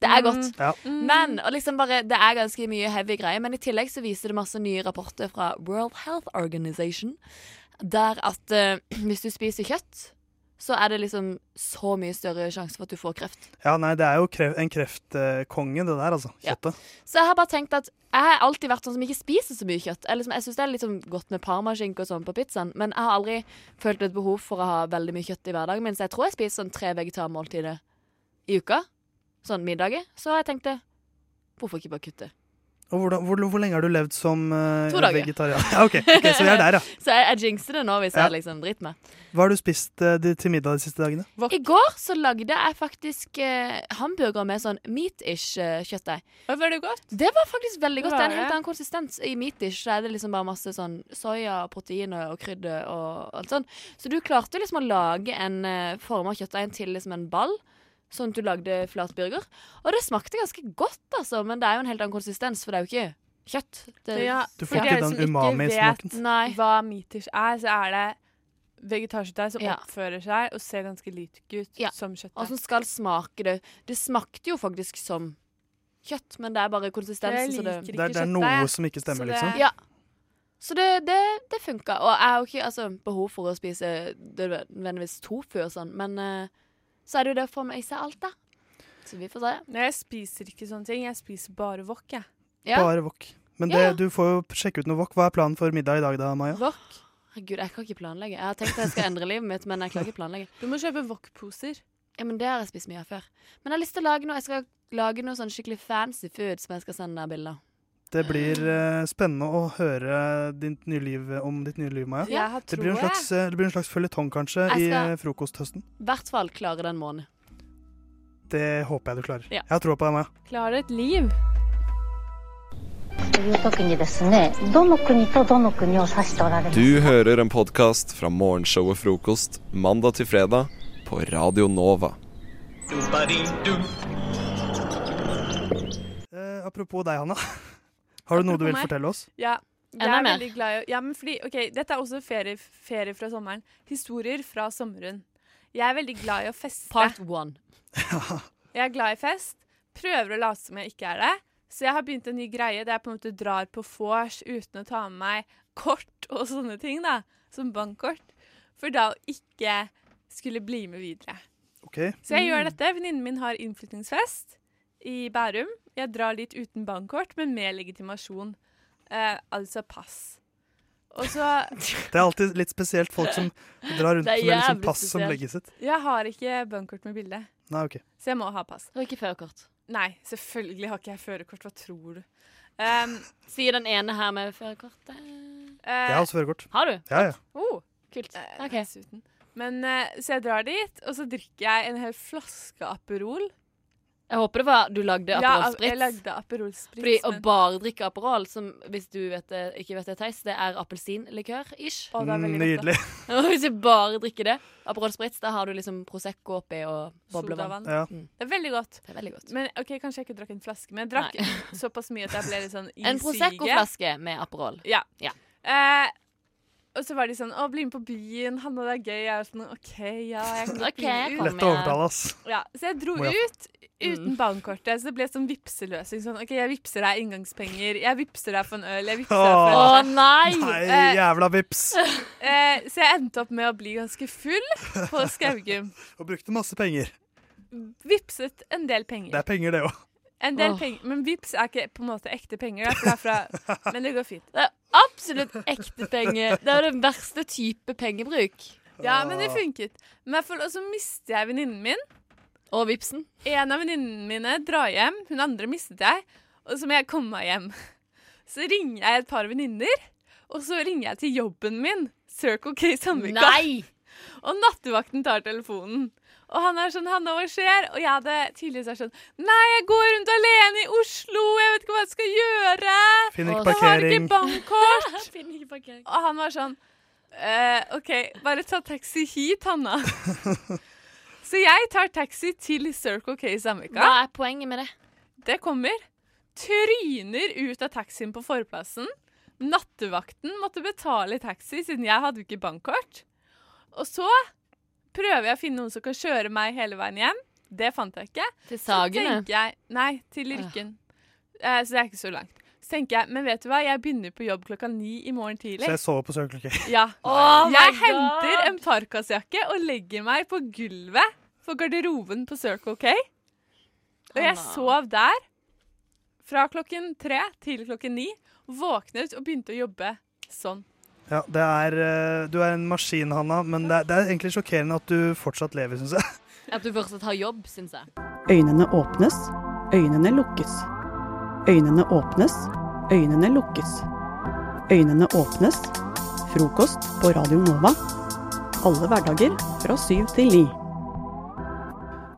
O: Det
P: Mm.
O: er godt.
C: Ja.
O: Men, og liksom bare, Det er ganske mye heavy greier, men i tillegg så viser det masse nye rapporter fra World Health Organization, der at eh, (clears throat) hvis du spiser kjøtt, så er det liksom så mye større sjanse for at du får kreft.
C: Ja, nei, det er jo kref en kreftkonge, det der, altså. Kjøttet.
O: Så jeg har bare tenkt at jeg har alltid vært sånn som ikke spiser så mye kjøtt. Jeg, liksom, jeg syns det er litt sånn godt med parmaskinke og sånn på pizzaen, men jeg har aldri følt et behov for å ha veldig mye kjøtt i hverdagen min, så jeg tror jeg spiser sånn tre vegetarmåltider i uka. Sånn middager. Så har jeg tenkt det. Hvorfor ikke bare kutte?
C: Og hvordan, hvor, hvor lenge har du levd som eh,
O: To dager.
C: vegetarianer? Ja, ok, ok, så vi er der,
O: (laughs)
C: ja.
O: Så jeg, jeg jinxer det nå hvis
C: Ja.
O: jeg liksom driter meg.
C: Hva har du spist eh, de, til middag de siste dagene?
O: I går så lagde jeg faktisk eh, hamburger med sånn meat-ish eh, kjøttdeig.
P: Var det godt?
O: Det var faktisk veldig godt. Det er en
P: Var det?
O: helt annen konsistens. I meat-ish så er det liksom bare masse sånn soya, proteiner og krydder og alt sånn. Så du klarte liksom å lage en eh, form av kjøttdeigen til liksom en ball. Sånn at du lagde flatburger. Og det smakte ganske godt, altså, men det er jo en helt annen konsistens, for det er jo ikke kjøtt. Det,
P: Ja,
C: Du får
P: for
C: ikke
P: dere
O: liksom
C: den
P: som ikke
C: umami-smaken.
P: vet Hva meters er, så er det vegetarkjøttdeig som oppfører seg og ser ganske lik ut som
O: Og
P: kjøttdeig.
O: som skal smake det. Det smakte jo faktisk som kjøtt, men det er bare konsistensen.
P: Jeg
O: så
P: liker
C: Det er- det er noe kjøttdeig, jeg. som ikke stemmer,
O: så det,
C: liksom.
O: Ja. Så det, det, det funka. Og jeg har jo ikke altså, behov for å spise det er nødvendigvis tofu og sånn, men eh, så er det jo det å få med seg alt, da. Så vi får se.
P: Nei, jeg spiser ikke sånne ting. Jeg spiser bare wok, jeg.
C: Bare wok. Men det,
O: Ja, ja.
C: du får jo sjekke ut noe wok. Hva er planen for middag i dag da, Maja?
O: Wok. Herregud, jeg kan ikke planlegge. Jeg har tenkt at jeg skal endre livet mitt, men jeg klarer ikke planlegge.
P: Du må kjøpe wok-poser.
O: Ja, men det har jeg spist mye av før. Men jeg har lyst til å lage noe. Jeg skal lage noe sånn skikkelig fancy food som jeg skal sende deg bilder av.
C: Det blir eh, spennende å høre ditt nye liv, om ditt nye liv, Maja.
O: Ja, jeg
C: det, blir en
O: tror
C: slags, eh, det blir en slags føljetong, kanskje,
O: Jeg
C: i
O: skal-
C: eh, frokosthøsten.
O: I hvert fall klare den måneden.
C: Det håper jeg du klarer.
O: Ja.
C: Jeg har troa på deg, Maja.
Q: という時にですねどの国とどの国を指しておられます
A: Du hører en podkast fra morgenshowet Frokost mandag til fredag på Radio Nova.
C: Eh, apropos deg, Hanna. (laughs) Har du noe du vil
P: meg?
C: fortelle oss?
P: Ja. Jeg
O: Enda
P: er
O: mer.
P: veldig glad i å ja, men fordi, ok, Dette er også ferie, ferie fra sommeren. Historier fra sommeren. Jeg er veldig glad i å feste.
O: Part one.
P: Jeg er glad i fest. Prøver å late som jeg ikke er det. Så jeg har begynt en ny greie der jeg på en måte drar på vors uten å ta med meg kort og sånne ting, da. Som bankkort. For da å ikke skulle bli med videre.
C: OK.
P: Så jeg gjør dette. Venninnen min har innflyttingsfest i Bærum. Jeg drar dit uten bankkort, men med legitimasjon. Eh, altså pass. Og så
C: Det er alltid litt spesielt folk
P: (laughs)
C: som drar rundt
P: Det er
C: med liksom
P: jævlig
C: pass som
P: spesielt.
C: legges ut.
P: Jeg har ikke bankkort med bilde,
C: Nei, ok.
P: så jeg må ha pass.
O: Og ikke førerkort.
P: Nei, selvfølgelig har ikke jeg førerkort. Hva tror du? Um,
O: Sier den ene her med førerkortet.
P: Eh,
C: Jeg har også førerkort.
O: Har du?
C: Ja, ja.
O: Oh, kult. OK.
P: Men, eh, så jeg drar dit, og så drikker jeg en hel flaske Aperol.
O: Jeg håper det var du lagde Aperol
P: Ja, jeg
O: Spritz.
P: lagde Aperol Spritz.
O: Fordi å
P: men-
O: bare drikke Aperol, som hvis du vet det, ikke vet det, Theis, det er appelsinlikør-ish.
P: Å, det er veldig godt, da.
O: (laughs)
C: Nydelig.
O: hvis du bare drikker det, Aperol Spritz, da har du liksom Prosecco oppi og Mm. boblevann.
P: Sodavann. Det er veldig godt.
O: Det er veldig godt.
P: Men ok, Kanskje jeg ikke drakk en flaske, men jeg drakk (laughs) såpass mye at jeg ble litt sånn
O: (laughs)
P: i
O: En
P: siget.
O: Prosecco-flaske med Aperol.
P: Ja.
O: Ja.
P: Eh, og så var de sånn 'Å, bli med på byen. Hanna, det er gøy.' Jeg var sånn 'OK, ja, jeg kan godt
O: Ok, jeg
P: bli med
O: kommer, Mm.
P: ut.'
C: Lett å ja. overtale, ass.
P: Ja, så jeg dro
C: Må jeg-
P: ut uten bankkortet. Så det ble sånn vipseløsning. Sånn 'OK, jeg vipser deg inngangspenger. Jeg vipser deg for en øl. Jeg vipser deg for en
C: Åh.
O: Å nei!
C: Nei, jævla vips.
P: (laughs) Eh, så jeg endte opp med å bli ganske full på Skaugum.
C: Og brukte masse penger.
P: Vipset en del penger.
C: Det er penger, det òg.
P: En del
C: Åh.
P: penger, Men vips er ikke på en måte ekte penger. da, for Det er
C: (laughs)
P: fra, men det går fint.
O: Det er absolutt ekte penger. Det er jo den verste type pengebruk.
P: Ja, men
C: Ah.
P: det funket. Men for, og så mister jeg venninnen min.
O: Og vipsen.
P: En av venninnene mine drar hjem, hun andre mistet jeg. Og så må jeg komme meg hjem. Så ringer jeg et par venninner, og så ringer jeg til jobben min. Circle K Sandvika.
O: Nei!
P: Og nattevakten tar telefonen. Og han er sånn Hanna, hva skjer? Og jeg hadde tidligere sagt sånn Nei, jeg går rundt alene i Oslo, jeg vet ikke hva jeg skal gjøre.
C: Finner ikke
P: Jeg har ikke
C: parkering.
P: bankkort. Og han var sånn «Eh, OK, bare ta taxi hit,
C: (laughs)
P: Hanna. Så jeg tar taxi til Circle K i Sandvika.
O: Hva er poenget med det?
P: Det kommer. Tryner ut av taxien på forplassen. Nattevakten måtte betale i taxi siden jeg hadde jo ikke bankkort. Og så prøver jeg å finne noen som kan kjøre meg hele veien hjem. Det fant jeg ikke.
O: Til
P: Så
O: Sagene?
P: tenker jeg, nei, til Lyrken. Eh, så det er ikke så langt. Så tenker jeg, men vet du hva, jeg begynner på jobb klokka ni i morgen tidlig.
C: Så jeg sover på Circle K.
P: Ja.
C: Oh my
P: jeg
C: God.
P: henter en parkasjakke og legger meg på gulvet for garderoben på Circle K. Og jeg
O: Hanna.
P: sov der fra klokken tre til klokken ni. Våknet og begynte å jobbe sånn.
C: (laughs) Ja, det er, eh, du er en maskin, Hanna, men det er, det er egentlig sjokkerende at du fortsatt lever, syns jeg. (laughs)
O: At du fortsatt har jobb, syns jeg.
R: Øynene åpnes, øynene lukkes. Øynene åpnes, øynene lukkes. Øynene åpnes. Frokost på Radio Nova. Alle hverdager fra syv til ni.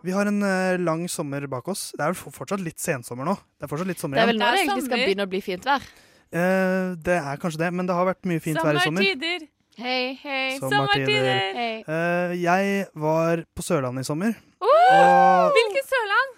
C: Vi har en eh, lang sommer bak oss. Det er vel f- fortsatt litt sensommer nå. Det er fortsatt litt sommer
O: Det er vel
C: igjen.
O: nå det egentlig skal begynne å bli fint vær.
C: Eh, det er kanskje det, men det har vært mye fint vær i sommer.
O: Hei, hei.
C: Sommertider.
O: Hei.
C: Eh, jeg var på Sørlandet i sommer.
P: Oh,
C: Og-
P: hvilken Sørland?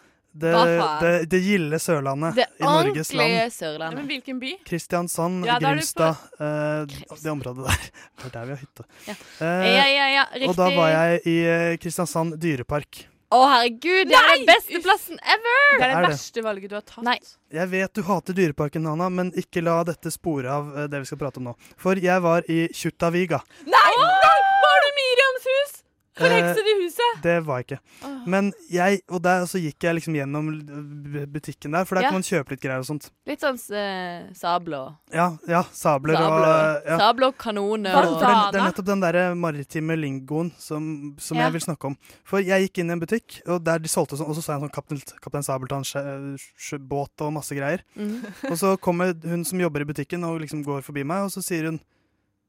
C: Det, det, det gilde Sørlandet i Norges land.
O: Sørlandet.
P: Men hvilken by?
C: Kristiansand,
P: Ja, da er du
C: Grimstad, eh, det området der. (laughs) Det er der vi har hytte. Eh,
O: Ja, ja, ja,
C: og da
O: riktig.
C: var jeg i eh, Kristiansand dyrepark.
O: Å, herregud, det er den beste plassen ever!
C: Det er det Er det? verste
P: valget du har tatt.
O: Nei.
C: Jeg vet du hater Dyreparken, Hanna, men ikke la dette spore av eh, det vi skal prate om nå. For jeg var i Kjuttaviga.
P: Nei! nei! Var det Miriams hus? Forhekset i huset?
C: Eh, Det var jeg ikke.
P: Åh.
C: Men jeg, og der så gikk jeg liksom gjennom eh, butikken der, for der
O: Ja.
C: kan man kjøpe litt greier og sånt.
O: Litt sånn uh, sable og
C: Ja, ja sabler
O: Sable
C: og
O: og,
C: ja.
O: sable og kanoner
C: For
O: og
C: det, er- det er nettopp den der eh, maritime lingoen som, som
O: Ja.
C: jeg vil snakke om. For jeg gikk inn i en butikk, og der de solgte sånn, og så så jeg en sånn Kaptein, kaptein Sabeltann-båt og masse greier.
S: Mm.
O: Mhm.
C: Og så kommer hun som jobber i butikken og liksom går forbi meg, og så sier hun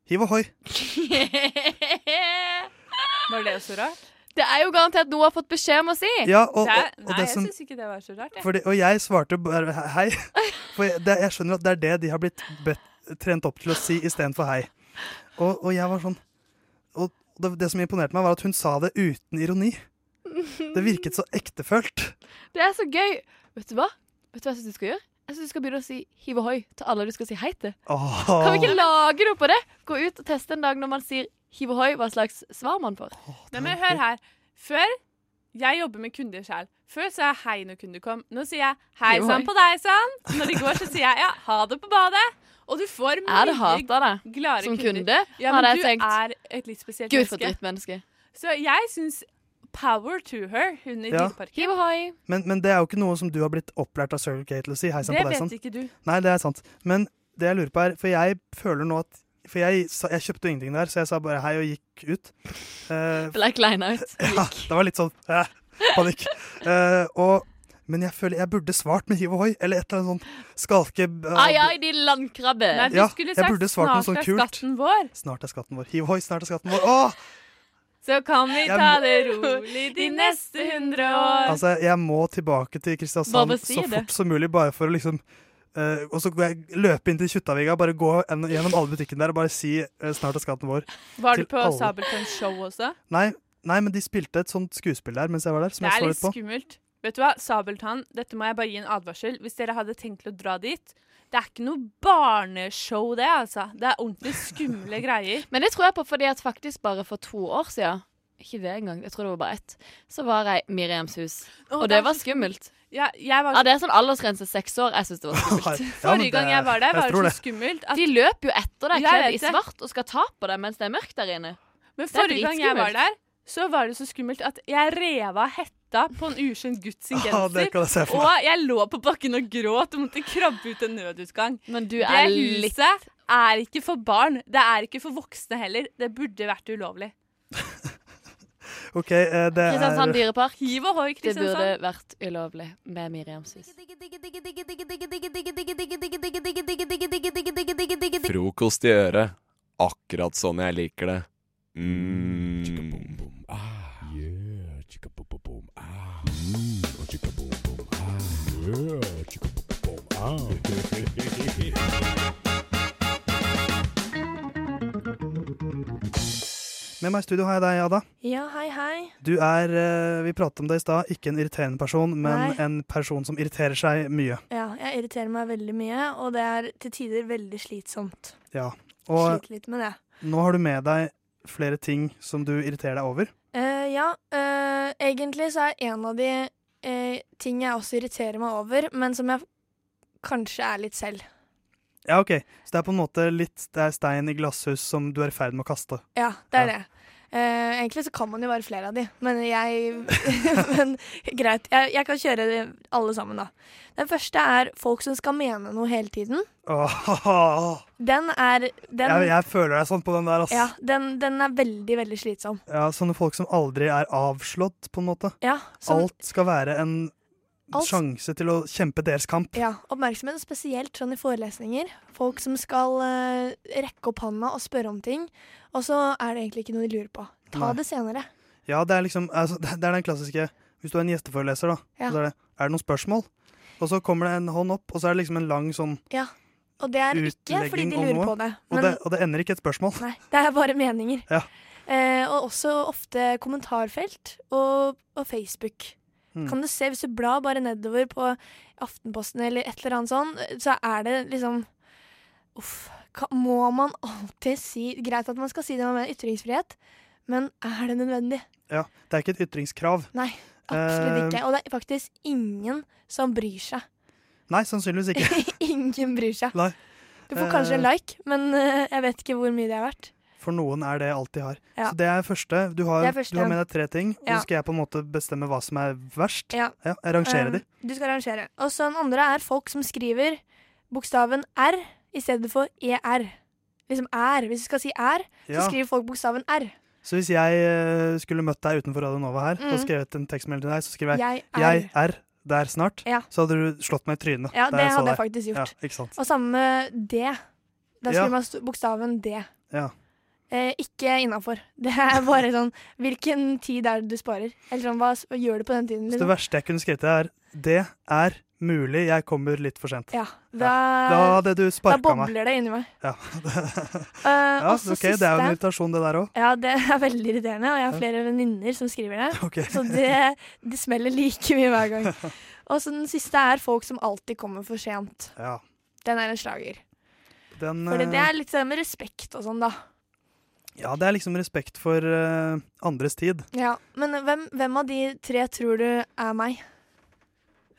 C: hiv ohoi.
O: (laughs)
C: Eh.
P: Var det så rart?
O: Det er jo garantert noe jeg har fått beskjed om å si.
C: Ja, og- Det er- og- og
P: Nei,
C: det
P: jeg
C: som-
P: syns ikke det var så rart. jeg.
C: Fordi, og jeg svarte bare hei. For jeg, det, jeg skjønner at det er det de har blitt bedt- trent opp til å si istedenfor hei. Og, og jeg var sånn Og det, det som imponerte meg, var at hun sa det uten ironi. Det virket så ektefølt.
O: (laughs) Det er så gøy. Vet du hva? Vet du hva jeg syns du skal gjøre? Jeg syns du skal begynne å si hiv ohoi til alle du skal si hei til.
C: Åh.
O: Kan vi ikke lage noe på det? Gå ut og teste en dag når man sier hiv ohoi, hva slags svar man får.
P: Nei, men hør her. Før jeg jobber med kunder selv. Før sa jeg hei når kunder kom. Nå sier jeg hei
O: Jo, hei.
P: sann på deg sann. Og Når de går, så sier jeg ja, ha det på badet. Og du får mye
O: Jeg hadde hata deg
P: gladere
O: som
P: kunder.
O: kunde,
P: Ja,
O: hadde
P: men
O: jeg
P: du
O: tenkt.
P: er et litt spesielt
O: Gud, for
P: menneske.
O: drittmenneske.
P: Så jeg syns power to her, hun i
C: Ja.
P: Dyreparken.
O: Hiv ohoi.
C: Men, men det er jo ikke noe som du har blitt opplært av Circle K til å si. Hei sann
P: Det
C: på deg sånn.
P: vet
C: sann.
P: ikke du.
C: Nei, det er sant. Men det jeg lurer på er For jeg føler nå at For jeg, sa- jeg kjøpte jo ingenting der, så jeg sa bare hei og gikk ut.
P: (laughs)
C: Eh,
O: Ble kleina ut.
C: (laughs) ja, det var litt sånn eh, panikk. Eh, og men jeg føler jeg burde svart med hiv ohoi, eller et eller annet sånt skalke... eh,
P: Ah,
O: Ai, ai, de landkrabbe.
C: Nei, du Ja, skulle jeg sagt burde svart noe snart sånn er kult. skatten
P: vår.
C: Snart er skatten vår. Hiv ohoi, snart er skatten vår. Åh!
P: Så kan vi
C: Jeg
P: ta
C: må-
P: det rolig
O: (laughs)
P: de neste hundre år.
C: Altså, jeg må tilbake til Kristiansand
P: Bare si
C: så
P: det.
C: fort som mulig, bare for å liksom eh, Og så går jeg løpe inn til Kjuttaviga, bare gå en, gjennom alle butikkene der og bare si eh, 'Snart er skatten vår'.
P: Var du
C: til
P: på
C: alle.
P: Sabeltann show også?
C: Nei, nei, men de spilte et sånt skuespill der mens jeg var der. Som
P: Det er
C: jeg så
P: litt
C: litt på.
P: skummelt. Vet du hva, Sabeltann, dette må jeg bare gi en advarsel. Hvis dere hadde tenkt til å dra dit Det er ikke noe barneshow, det, altså. Det er ordentlig skumle greier.
O: Men det tror jeg på fordi at faktisk bare for to år siden, ikke det engang, jeg tror det var bare ett, så var jeg i Miriams hus.
P: Å,
O: og
P: det er
O: det var
P: så
O: skummelt.
P: Ja, jeg var
O: Ja, det er sånn aldersgrense seks år. Jeg syns
P: (laughs)
O: det var skummelt.
P: Forrige gang jeg var der, var det så skummelt at
O: De løper jo etter deg
P: Jeg
O: kledd
P: vet
O: i
P: det.
O: svart og skal ta på deg mens det er mørkt der inne.
P: Men
O: Det er
P: forrige gang jeg var
O: dritskummelt.
P: der, så var det så skummelt at jeg rev av hetta på en ukjent gutt
O: (laughs)
P: sin
O: Ah,
P: genser.
O: det kan jeg se for meg.
P: og jeg lå på bakken og gråt og måtte krabbe ut en nødutgang.
O: Men du
P: det
O: er
P: huset
O: litt-
P: er ikke for barn. Det er ikke for voksne heller. Det burde vært ulovlig.
C: OK, eh, det
O: Kristiansand
C: er
O: dyrepark.
P: Hiv ohoi,
O: Det
P: Kristiansand.
O: burde vært ulovlig med Miriams hus.
A: Frokost i øret. Akkurat sånn jeg liker det. Mm.
C: Med meg i studio har jeg deg, Ada.
S: Ja, hei, hei.
C: Du er, eh, vi pratet om det i stad, ikke en irriterende person, men
S: Nei.
C: en person som irriterer seg mye.
S: Ja, jeg irriterer meg veldig mye, og det er til tider veldig slitsomt.
C: Ja. Og
S: Sliter litt med det.
C: nå har du med deg flere ting som du irriterer deg over.
S: Eh, ja, eh, egentlig så er en av de eh, ting jeg også irriterer meg over, men som jeg kanskje er litt selv.
C: Ja, ok. Så det er på en måte litt det er stein i glasshus som du er i ferd med å kaste.
S: Ja, det er det. Eh, egentlig så kan man jo være flere av de, men jeg (laughs) Men greit, jeg, jeg kan kjøre alle sammen, da. Den første er folk som skal mene noe hele tiden.
C: Åh, (laughs)
S: Den er den,
C: jeg, jeg føler deg sånn på den der, ass.
S: Ja, den, den er veldig, veldig slitsom.
C: Ja, sånne folk som aldri er avslått, på en måte.
S: Ja, som-
C: Alt skal være en
S: Alt-
C: sjanse til å kjempe deres kamp.
S: Ja, oppmerksomhet, spesielt sånn i forelesninger. Folk som skal eh, rekke opp handa og spørre om ting, og så er det egentlig ikke noe de lurer på. Ta
C: Nei.
S: det senere.
C: Ja, det er liksom altså, Det det er den klassiske Hvis du er en gjesteforeleser, da,
S: Ja.
C: så er det Er det noen spørsmål? Og så kommer det en hånd opp, og så er det liksom en lang sånn
S: Ja. Og det er ikke fordi
C: utlegging
S: de
C: om
S: lurer
C: noe.
S: på det,
C: og,
S: men
C: det og det ender ikke et spørsmål.
S: Nei, det er bare meninger.
C: Ja.
S: Eh, og også ofte kommentarfelt og, og Facebook.
C: Mm.
S: Kan du se, Hvis du blar bare nedover på Aftenposten eller et eller annet sånn, så er det liksom Uff. ka- Må man alltid si Greit at man skal si det med ytringsfrihet, men er det nødvendig?
C: Ja, det er ikke et ytringskrav.
S: Nei, absolutt
C: Eh,
S: ikke. Og det er faktisk ingen som bryr seg. (laughs)
C: Nei, sannsynligvis ikke.
S: ingen bryr seg.
C: Nei.
S: Du får kanskje en
C: Eh,
S: like, men eh, jeg vet ikke hvor mye det er verdt.
C: For noen er det alt de har.
S: Ja.
C: Så det er første. Du har,
S: Det er første.
C: du har med deg tre ting, og
S: Ja.
C: så skal jeg på en måte bestemme hva som er verst.
S: Ja.
C: jeg rangerer
S: Um,
C: de.
S: Du skal rangere. Og så den andre er folk som skriver bokstaven R i stedet for ER. Liksom er. Hvis du skal si er, så
C: Ja.
S: skriver folk bokstaven R.
C: Så hvis jeg eh, skulle møtt deg utenfor Radio Nova her og
S: Mm.
C: skrevet en tekstmelding til deg, så skriver jeg
S: Jeg
C: 'Jeg er der snart',
S: Ja.
C: så hadde du slått meg i trynet.
S: Ja,
C: da
S: det
C: så
S: hadde jeg
C: deg.
S: faktisk gjort.
C: Ja, ikke sant?
S: Og samme med D. Da
C: Ja.
S: skriver man st- bokstaven D.
C: Ja.
S: Eh, ikke innafor. Det er bare sånn Hvilken tid er det du sparer? Eller sånn, hva, s- hva gjør du på den tiden? liksom?
C: Så det verste jeg kunne skrevet til deg, er 'Det er mulig jeg kommer litt for sent'.
S: Ja, da,
C: Da hadde du
S: da
C: sparka meg.
S: bobler det inni meg.
C: Ja. (laughs)
S: Eh,
C: ja,
S: og så
C: ok, Det er jo
S: siste-
C: en irritasjon, det der òg.
S: Ja, det er veldig irriterende, og jeg har
C: Ja.
S: flere venninner som skriver det.
C: Ok.
S: Så det, det smeller like mye hver
C: (laughs)
S: gang. Og så den siste er folk som alltid kommer for sent.
C: Ja.
S: Den er en slager.
C: Den,
S: For det
C: eh,
S: er litt sånn med respekt og sånn, da.
C: ja, det er liksom respekt for eh, andres tid.
S: Ja, Men hvem, hvem av de tre tror du er meg?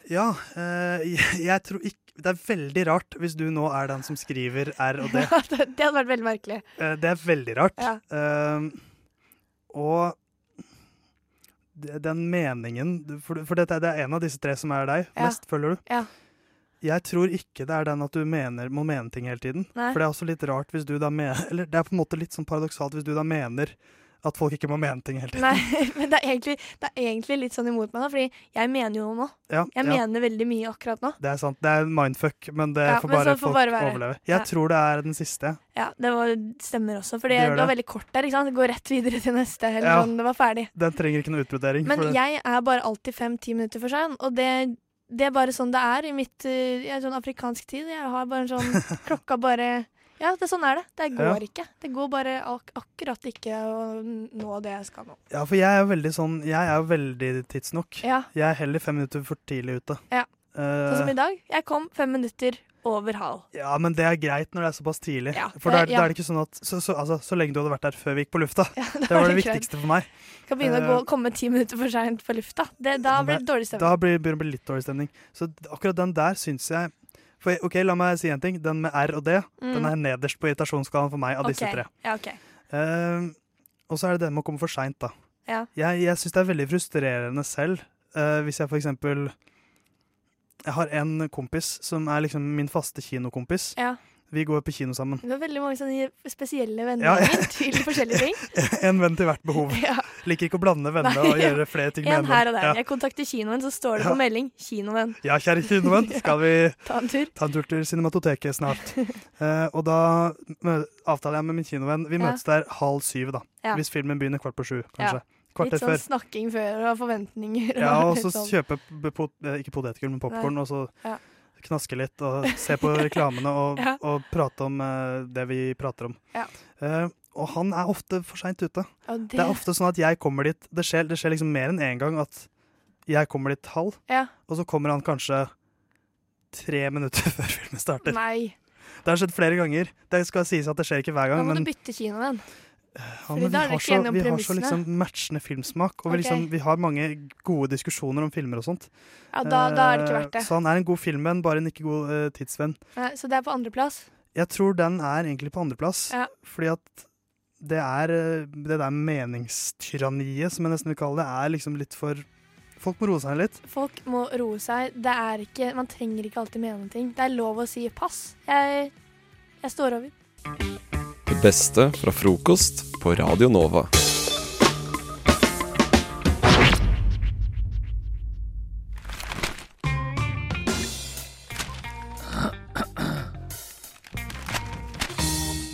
C: Ja, eh, jeg, jeg tror ikke Det er veldig rart hvis du nå er den som skriver R (laughs) og D.
S: (laughs) det hadde vært veldig merkelig.
C: Eh, det er veldig rart.
S: Ja.
C: Eh, og det- den meningen du- For, for dette, er- det er en av disse tre som er deg
S: Ja.
C: mest, føler du?
S: Ja.
C: Jeg tror ikke det er den at du mener, må mene ting hele tiden.
S: Nei.
C: For det er også litt rart hvis du da mener Eller det er på en måte litt sånn paradoksalt hvis du da mener at folk ikke må mene ting hele tiden.
S: Nei, (laughs) men det er, egentlig, det er egentlig litt sånn imot meg, da, fordi jeg mener jo noe nå.
C: Ja,
S: Jeg
C: ja.
S: mener veldig mye akkurat nå.
C: Det er sant. Det er en mindfuck, men det
S: Ja,
C: får
S: men
C: bare
S: så får
C: folk
S: bare være.
C: overleve. Jeg
S: Ja.
C: tror det er den siste.
S: Ja, Det var, stemmer også, for det,
C: Det gjør
S: var
C: det.
S: veldig kort der. ikke sant? Det går rett videre til neste. eller
C: Ja.
S: sånn, Det var ferdig.
C: Den trenger ikke noe utbrodering.
S: Men
C: for det-
S: jeg er bare alltid fem-ti minutter for sein, og det, det er bare sånn det er i mitt eh, jeg er sånn afrikansk tid. Jeg har bare en
C: (laughs)
S: sånn Klokka bare Ja, det, sånn er det. Det
C: Ja.
S: går ikke. Det går bare ak akkurat ikke å nå det jeg skal nå.
C: Ja, for jeg er jo veldig sånn Jeg er jo veldig tidsnok.
S: Ja.
C: Jeg er heller fem minutter for tidlig ute.
S: Ja.
C: Eh,
S: Sånn som i dag. Jeg kom fem minutter over halv.
C: ja, men det er greit når det er såpass tidlig. For
S: det er-
C: da er, da er det ikke sånn at så, så, altså, så lenge du hadde vært der før vi gikk på
S: (laughs)
C: lufta. det
S: var
C: var det
S: det greit.
C: viktigste for meg.
S: Kan begynne
C: Eh,
S: å gå, komme ti minutter for seint på lufta. Det, da blir det dårlig
C: Da
S: stemning.
C: blir begynner det å bli litt dårlig stemning. Så d- akkurat den der syns jeg for, jeg- OK, la meg si en ting. Den med R og D,
S: Mm.
C: den er nederst på irritasjonsskalaen for meg av disse
S: Ok.
C: tre.
S: Ja, ok.
C: Eh, og så er det det med å komme for seint, da.
S: Ja.
C: Jeg, jeg syns det er veldig frustrerende selv eh, hvis jeg for eksempel Jeg har en kompis som er liksom min faste kinokompis.
S: ja.
C: Vi går på kino sammen. (laughs)
S: Du har veldig mange sånne spesielle
C: Ja.
S: venner til forskjellige
C: (laughs)
S: ting.
C: En venn til hvert behov.
S: Ja.
C: Liker ikke å blande venner og
S: Nei.
C: gjøre flere ting med
S: En
C: en
S: her og
C: venn.
S: der.
C: Ja.
S: Jeg kontakter kinoen, så står det
C: Ja.
S: på melding 'kinovenn'.
C: ja, kjære
S: (laughs)
C: kinovenn, skal vi
S: Ta en tur.
C: ta en tur til Cinematoteket snart?
S: (laughs)
C: Eh, og da mø- avtaler jeg med min kinovenn. Vi
S: Ja.
C: møtes der halv syv, da.
S: Ja.
C: Hvis filmen begynner kvart på sju, kanskje.
S: Ja. Litt
C: Kvarter
S: sånn
C: før.
S: snakking før og (laughs) forventninger.
C: Ja, og
S: litt
C: så
S: sånn.
C: kjøpe b- pot, eh, ikke potetgull, men popkorn,
S: Nei.
C: og så
S: Ja.
C: knaske litt og
S: (laughs)
C: se på reklamene og,
S: Ja.
C: og prate om eh, det vi prater om.
S: Ja.
C: Eh, og han er ofte for seint ute.
S: Ja, det-
C: Det er ofte sånn at jeg kommer dit Det skjer, det skjer liksom mer enn én gang at jeg kommer dit halv,
S: Ja.
C: og så kommer han kanskje tre minutter (laughs) før filmen starter.
S: Nei.
C: Det har skjedd flere ganger. Det skal sies at det skjer ikke hver
S: Da
C: gang,
S: må
C: men
S: du bytte kinovenn.
C: ja,
S: Fordi
C: men vi
S: da er
C: har
S: det ikke
C: så,
S: gjennom
C: vi har så
S: premissene.
C: liksom matchende filmsmak, og vi,
S: Ok.
C: liksom, vi har mange gode diskusjoner om filmer og sånt.
S: Ja, da- da er det ikke
C: Eh,
S: verdt det.
C: Så han er en god filmvenn, bare en ikke god eh, tidsvenn.
S: Nei, Så det er på andreplass.
C: Jeg tror den er egentlig på andreplass,
S: Ja.
C: fordi at det er eh, det der meningstyranniet, som jeg nesten vil kalle det, er liksom litt for Folk må roe seg litt.
S: Folk må roe seg. Det er ikke, man trenger ikke alltid mene ting. Det er lov å si 'pass'. Jeg, jeg står over.
A: Det beste fra frokost på Radio Nova.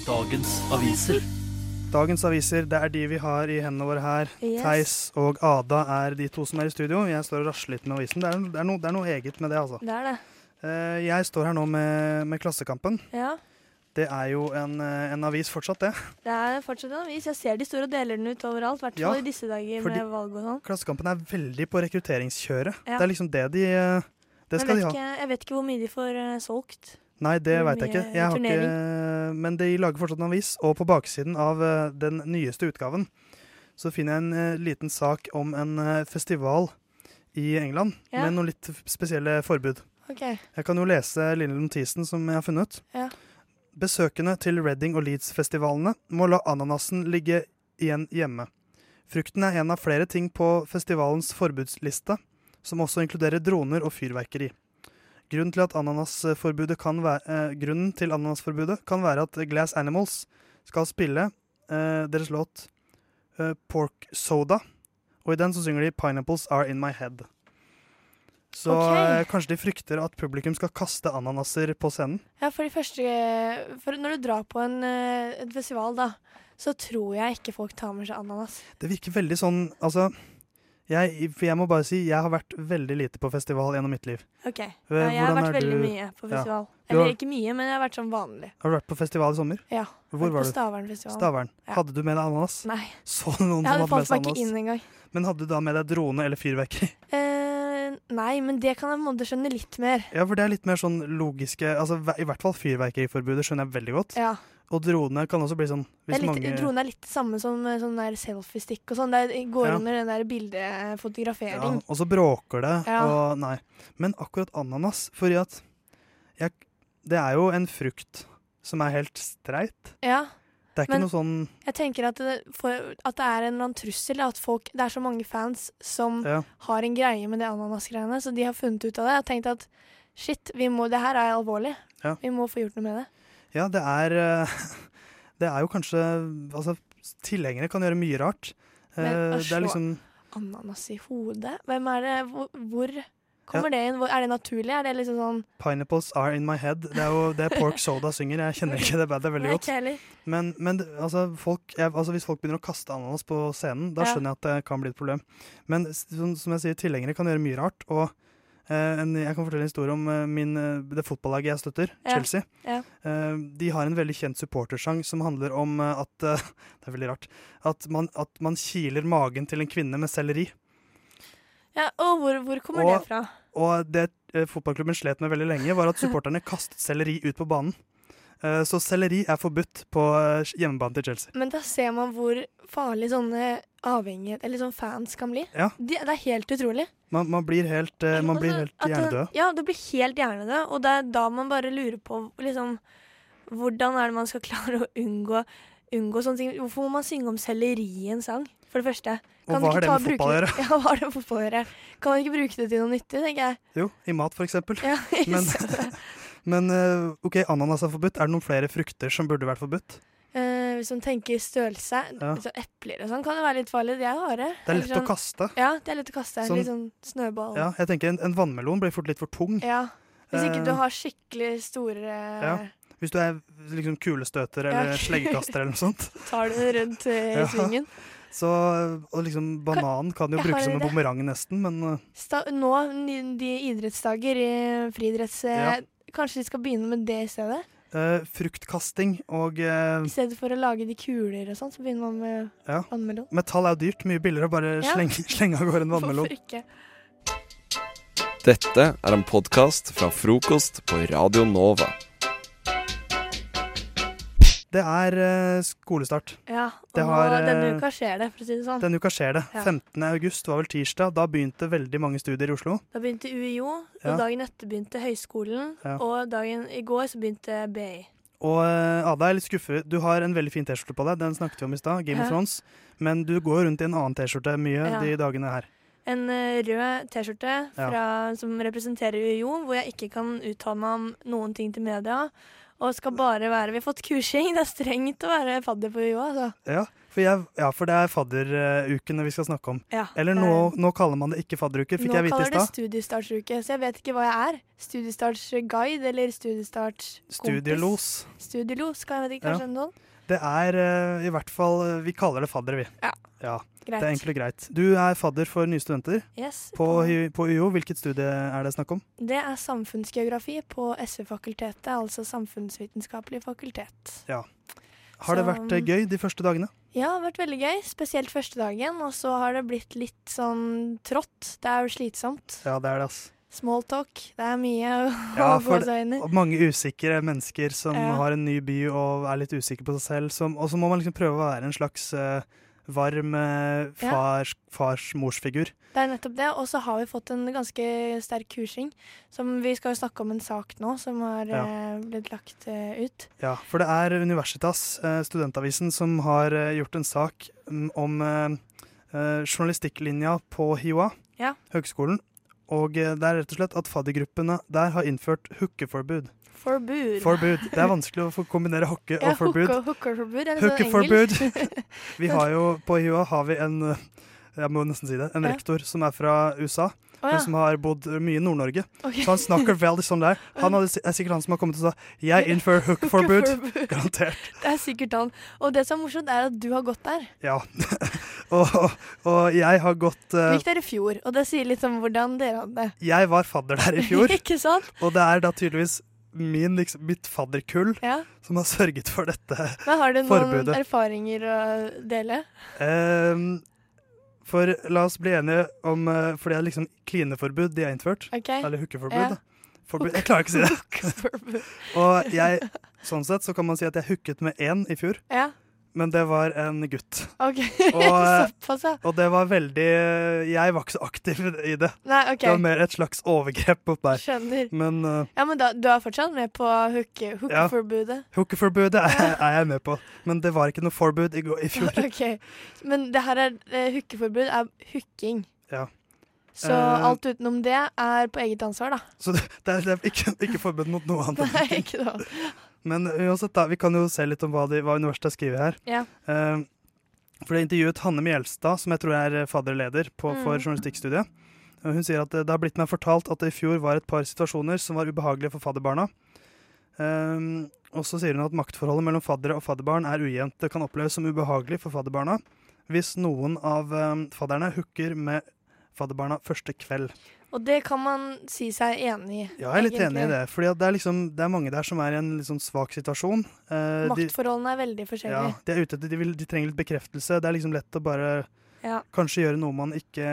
I: Dagens aviser.
C: Dagens aviser, det er de vi har i hendene våre her.
I: Yes.
C: Theis og Ada er de to som er i studio. Jeg står og rasler litt med avisen. Det er, det er, noe, det er noe eget med det, altså.
S: Det er det.
C: Eh, Jeg står her nå med, med Klassekampen.
S: Ja.
C: Det er jo en, eh, en avis fortsatt, det.
S: Det er fortsatt en avis. Jeg ser de store og deler den ut overalt. I hvert
C: Ja,
S: fall i disse dager
C: fordi-
S: med valg og sånn.
C: Klassekampen er veldig på rekrutteringskjøret.
S: Ja.
C: Det er liksom det de eh, Det
S: Men
C: skal
S: vet
C: de ha.
S: Ikke, jeg vet ikke hvor mye de får eh, solgt.
C: Nei, det
S: Hvor
C: veit jeg ikke.
S: mye
C: Jeg har ikke.
S: turnering?
C: Men de lager fortsatt en avis, og på baksiden av eh, den nyeste utgaven så finner jeg en eh, liten sak om en eh, festival i England
S: Ja.
C: med noen litt f- spesielle forbud.
S: Ok.
C: Jeg kan jo lese Lille Lontisen, som jeg har funnet.
S: Ja.
C: Besøkende til Reading og Leeds-festivalene må la ananasen ligge igjen hjemme. Frukten er en av flere ting på festivalens forbudsliste, som også inkluderer droner og fyrverkeri. Grunnen til, at ananasforbudet kan være, eh, grunnen til ananasforbudet kan være at Glass Animals skal spille eh, deres låt eh, Pork Soda, og i den så synger de Pineapples Are In My Head. Så
S: Ok.
C: eh, kanskje de frykter at publikum skal kaste ananaser på scenen.
S: Ja, for de første for Når du drar på en, eh, en festival, da, så tror jeg ikke folk tar med seg ananas.
C: Det virker veldig sånn Altså, jeg, for jeg må bare si jeg har vært veldig lite på festival gjennom mitt liv.
S: Ok.
C: Hva-
S: Ja, jeg har
C: Eh, hvordan
S: vært
C: er
S: veldig
C: du-
S: mye på
C: Ja.
S: festival.
C: Du har-
S: Eller ikke mye, men jeg har vært sånn vanlig.
C: Har du vært på festival i sommer?
S: Ja.
C: Hvor
S: vært
C: var
S: på
C: du?
S: Stavernfestivalen.
C: Stavern.
S: Ja.
C: Hadde du med deg ananas?
S: Nei.
C: Så du noen
S: Ja, det
C: som hadde med
S: falt
C: seg
S: meg ikke
C: ananas?
S: inn engang.
C: Men hadde du da med deg drone eller fyrverkeri? (laughs)
S: Eh, nei, men det kan jeg på en måte skjønne litt mer.
C: Ja, for det er litt mer sånn logiske altså, ve- I hvert fall fyrverkeriforbudet skjønner jeg veldig godt.
S: Ja.
C: Og drone kan også bli sånn
S: Det
C: hvis
S: er litt,
C: mange
S: Dronen er litt det samme som eh, sånn der selfiestick og sånn. Det er- går
C: Ja.
S: under den der
C: ja,
S: bildefotografering.
C: Og så bråker det,
S: Ja.
C: og nei. Men akkurat ananas, fordi at jeg, Det er jo en frukt som er helt streit.
S: Ja.
C: Det er ikke
S: Men-
C: noe sånn
S: Jeg tenker at det, for, at det er en eller annen trussel. At folk, det er så mange fans som
C: Ja.
S: har en greie med det ananasgreiene. Så de har funnet ut av det. Jeg har tenkt at shit, vi må, det her er alvorlig.
C: Ja.
S: Vi må få gjort noe med det.
C: Ja, det er eh, (laughs) Det er jo kanskje Altså, tilhengere kan gjøre mye rart. Eh,
S: Men å
C: det er
S: slå
C: liksom
S: ananas i hodet? Hvem er det? Hvor, hvor kommer det inn? Hvor, er det naturlig? Er det liksom sånn
C: Pineapples are in my head. Det er jo det Pork Soda synger. Jeg kjenner ikke det bandet
S: (laughs)
C: veldig
S: Nei,
C: godt.
S: ikke heller.
C: Men, men det- altså, folk, jeg, altså, hvis folk begynner å kaste ananas på scenen, da
S: Ja.
C: skjønner jeg at det kan bli et problem. Men s- som, som jeg sier, tilhengere kan gjøre mye rart. Og eh, en, jeg kan fortelle en historie om eh, min, eh, det fotballaget jeg støtter,
S: Ja.
C: Chelsea.
S: Ja.
C: Eh, de har en veldig kjent supportersang som handler om eh, at eh, (laughs) Det er veldig rart. At man, at man kiler magen til en kvinne med selleri.
S: Ja, og hvor, hvor kommer det fra?
C: Og det eh, fotballklubben slet med veldig lenge,
S: (laughs)
C: var at supporterne kastet selleri ut på banen. Eh, så selleri er forbudt på eh, hjemmebanen til Chelsea.
S: Men da ser man hvor farlig sånne avhengighet, eller sånn fans kan bli.
C: Ja.
S: De, det er helt utrolig.
C: Man, man blir helt, eh, man blir helt
S: At det-
C: hjernedød.
S: Ja, du blir helt hjernedød, og det er da man bare lurer på liksom, hvordan er det man skal (laughs) klare å unngå, unngå sånne ting. Hvorfor må man synge om selleri i en sang, for det første?
C: Og
S: du
C: hva har
S: ikke
C: det
S: ta
C: med
S: og
C: fotball å
S: bruke- (laughs) Ja, hva har det med fotball å gjøre? Kan man ikke bruke det til noe nyttig, tenker jeg.
C: Jo, i mat, for eksempel.
S: Ja, jeg
C: (laughs) Men,
S: ser det.
C: men eh, OK, ananas er forbudt. Er det noen flere frukter som burde vært forbudt?
S: Eh, hvis man tenker størrelse,
C: Ja.
S: så epler og sånn kan det være litt farlig. De er harde.
C: Det er
S: Eller sånn-
C: lett å kaste.
S: Ja, det er lett å kaste.
C: Sånn-
S: Litt sånn snøball.
C: Ja, jeg tenker En, en vannmelon blir fort litt for tung.
S: Ja. Hvis ikke
C: Eh,
S: du har skikkelig store
C: ja. Hvis du er liksom kulestøter eller
S: Ja. (laughs)
C: sleggekaster eller noe sånt.
S: Tar du den rundt eh, i
C: (laughs) Ja.
S: svingen.
C: Så og liksom, banan kan jo
S: jeg
C: brukes
S: har
C: som en
S: det.
C: bumerang nesten, men eh,
S: Sta nå, ny- de idrettsdager i friidretts... eh, Kanskje de skal begynne med det i stedet?
C: eh, fruktkasting og eh,
S: I stedet for å lage de kuler og sånn, så begynner man med
C: ja.
S: vannmelon.
C: Metall er jo dyrt, mye billigere å bare
S: Ja.
C: slenge, slenge av gårde en vannmelon.
S: Hvorfor ikke?
A: Dette er en podkast fra frokost på Radio Nova.
C: Det er eh, skolestart.
S: Ja, og
C: Det har,
S: nå, denne
C: eh,
S: uka skjer det, for å si det sånn.
C: Denne uka skjer det.
S: Ja.
C: 15. august var vel tirsdag. Da begynte veldig mange studier i Oslo.
S: Da begynte UiO, og
C: Ja.
S: dagen etter begynte høyskolen,
C: Ja.
S: og dagen i går så begynte BI.
C: Og eh, Ada, jeg er litt skuffet. Du har en veldig fin T-skjorte på deg. Den snakket vi om i stad, Game
S: Ja.
C: of Thrones. Men du går rundt i en annen T-skjorte mye
S: Ja.
C: de dagene her.
S: En eh, rød T-skjorte fra- som representerer UiO, hvor jeg ikke kan uttale meg om noen ting til media. Og skal bare være Vi har fått kursing, (laughs) det er strengt å være fadder på UiO, altså.
C: Ja, for, jeg, ja, for det er fadderukene vi skal snakke om.
S: Ja,
C: Eller
S: det er-
C: nå, nå kaller man det ikke fadderuke, fikk
S: Nå
C: jeg vite i
S: kaller det
C: stad.
S: studiestartsuke, så jeg vet ikke hva jeg er. Studiestartsguide eller studiestartskompis.
C: Studielos.
S: Studielos, kan jeg vet ikke,
C: Ja.
S: kanskje en sånn.
C: Det er eh, i hvert fall eh, Vi kaller det fadder, vi.
S: Ja.
C: Det
S: Greit.
C: er egentlig greit. Du er fadder for nye studenter
S: Yes.
C: på, Hy- på UiO. Hvilket studie er det snakk om?
S: Det er samfunnsgeografi på SV-fakultetet, altså Samfunnsvitenskapelig fakultet.
C: Ja. Har det
S: Så,
C: vært eh,
S: um,
C: gøy de første dagene?
S: Ja, det har vært veldig gøy, spesielt første dagen, og så har det blitt litt sånn trått. Det er jo slitsomt.
C: Ja, det er det, ass.
S: Small talk, det er mye (laughs) å
C: Ja,
S: gå
C: for det-
S: seg inn i.
C: og mange usikre mennesker som
S: Ja.
C: har en ny by og er litt usikre på seg selv. Som, og så må man liksom prøve å være en slags eh, varm eh,
S: Ja.
C: fars, fars-morsfigur.
S: Det er nettopp det, og så har vi fått en ganske sterk kursing. Som vi skal jo snakke om en sak nå, som har
C: Ja.
S: eh, blitt lagt eh, ut.
C: Ja, for det er Universitas, eh, studentavisen, som har eh, gjort en sak mm, om eh, eh, journalistikklinja på HiOA,
S: Ja.
C: høgskolen. Og eh, det er rett og slett at faddergruppene der har innført hookeforbud.
S: Forbud.
C: Forbud.
S: (laughs)
C: Det er vanskelig å få kombinere hooke og forbud.
S: Hookerforbud, er det så
C: Hookeforbud.
S: engelsk?
C: (laughs)
S: (laughs)
C: vi har jo på HiOA har vi en eh, jeg må nesten si det, en
S: Ja.
C: rektor som er fra USA,
S: ja.
C: men som har bodd mye i Nord-Norge.
S: Ok.
C: Så han snakker veldig sånn
S: (laughs)
C: der. Han hadde, er sikkert han som har kommet og sa 'jeg innfører hook-forbud'.
S: Hookeforbud.
C: Garantert.
S: Det er sikkert han. Og det som er morsomt, er at du har gått der.
C: Ja. (laughs) og, og, og jeg har gått
S: Du
C: eh,
S: gikk der i fjor, og det sier litt om hvordan dere hadde det.
C: Jeg var fadder der i fjor,
S: (laughs) Ikke sant?
C: og det er da tydeligvis min, liksom, mitt fadderkull
S: Ja.
C: som har sørget for dette
S: Men har du noen
C: forbudet.
S: erfaringer å dele?
C: Ehm, for la oss bli enige om uh, For det er liksom klineforbud de har innført.
S: Ok.
C: Eller hookeforbud.
S: Ja.
C: da. Forbud. Jeg klarer ikke å
S: (laughs)
C: si det. og jeg, sånn sett så kan man si at jeg hooket med én i fjor,
S: Ja.
C: men det var en gutt.
S: OK. (laughs)
C: Og, eh,
S: Såpass, ja.
C: Og det var veldig Jeg var ikke så aktiv i det.
S: Nei, ok.
C: Det var mer et slags overgrep mot meg.
S: Skjønner.
C: Men eh,
S: Ja, men da, du er fortsatt med på hooke- hookeforbudet?
C: hookeforbudet er, er jeg med på. Men det var ikke noe forbud i, går- i fjor.
S: (laughs) OK. Men det her er eh, hookeforbud er hooking.
C: Ja.
S: Så
C: Eh,
S: alt utenom det er på eget ansvar, da.
C: Så det, det er, det er ikke, ikke forbud mot noe annet.
S: Nei, (laughs) ikke noe annet.
C: Men uansett, da, vi kan jo se litt om hva, de, hva universitetet skriver her.
S: Ja.
C: Eh, for det er intervjuet Hanne Mjelstad, som jeg tror er eh, fadderleder på, for
S: Mm.
C: journalistikkstudiet. Og Hun sier at eh, det, det har blitt meg fortalt at det i fjor var et par situasjoner som var ubehagelige for fadderbarna. Eh, og så sier hun at maktforholdet mellom faddere og fadderbarn er ujevnt. Det kan oppleves som ubehagelig for fadderbarna hvis noen av eh, fadderne hooker med fadderbarna første kveld.
S: Og det kan man si seg enig i.
C: Ja, jeg er litt enig i
S: egentlig.
C: det. For det, er liksom, det er mange der som er i en litt sånn svak situasjon. Eh, de-
S: Maktforholdene er veldig
C: ja,
S: forskjellige.
C: de er ute etter, de, vil, de trenger litt bekreftelse. Det er liksom lett å bare
S: Ja.
C: kanskje gjøre noe man ikke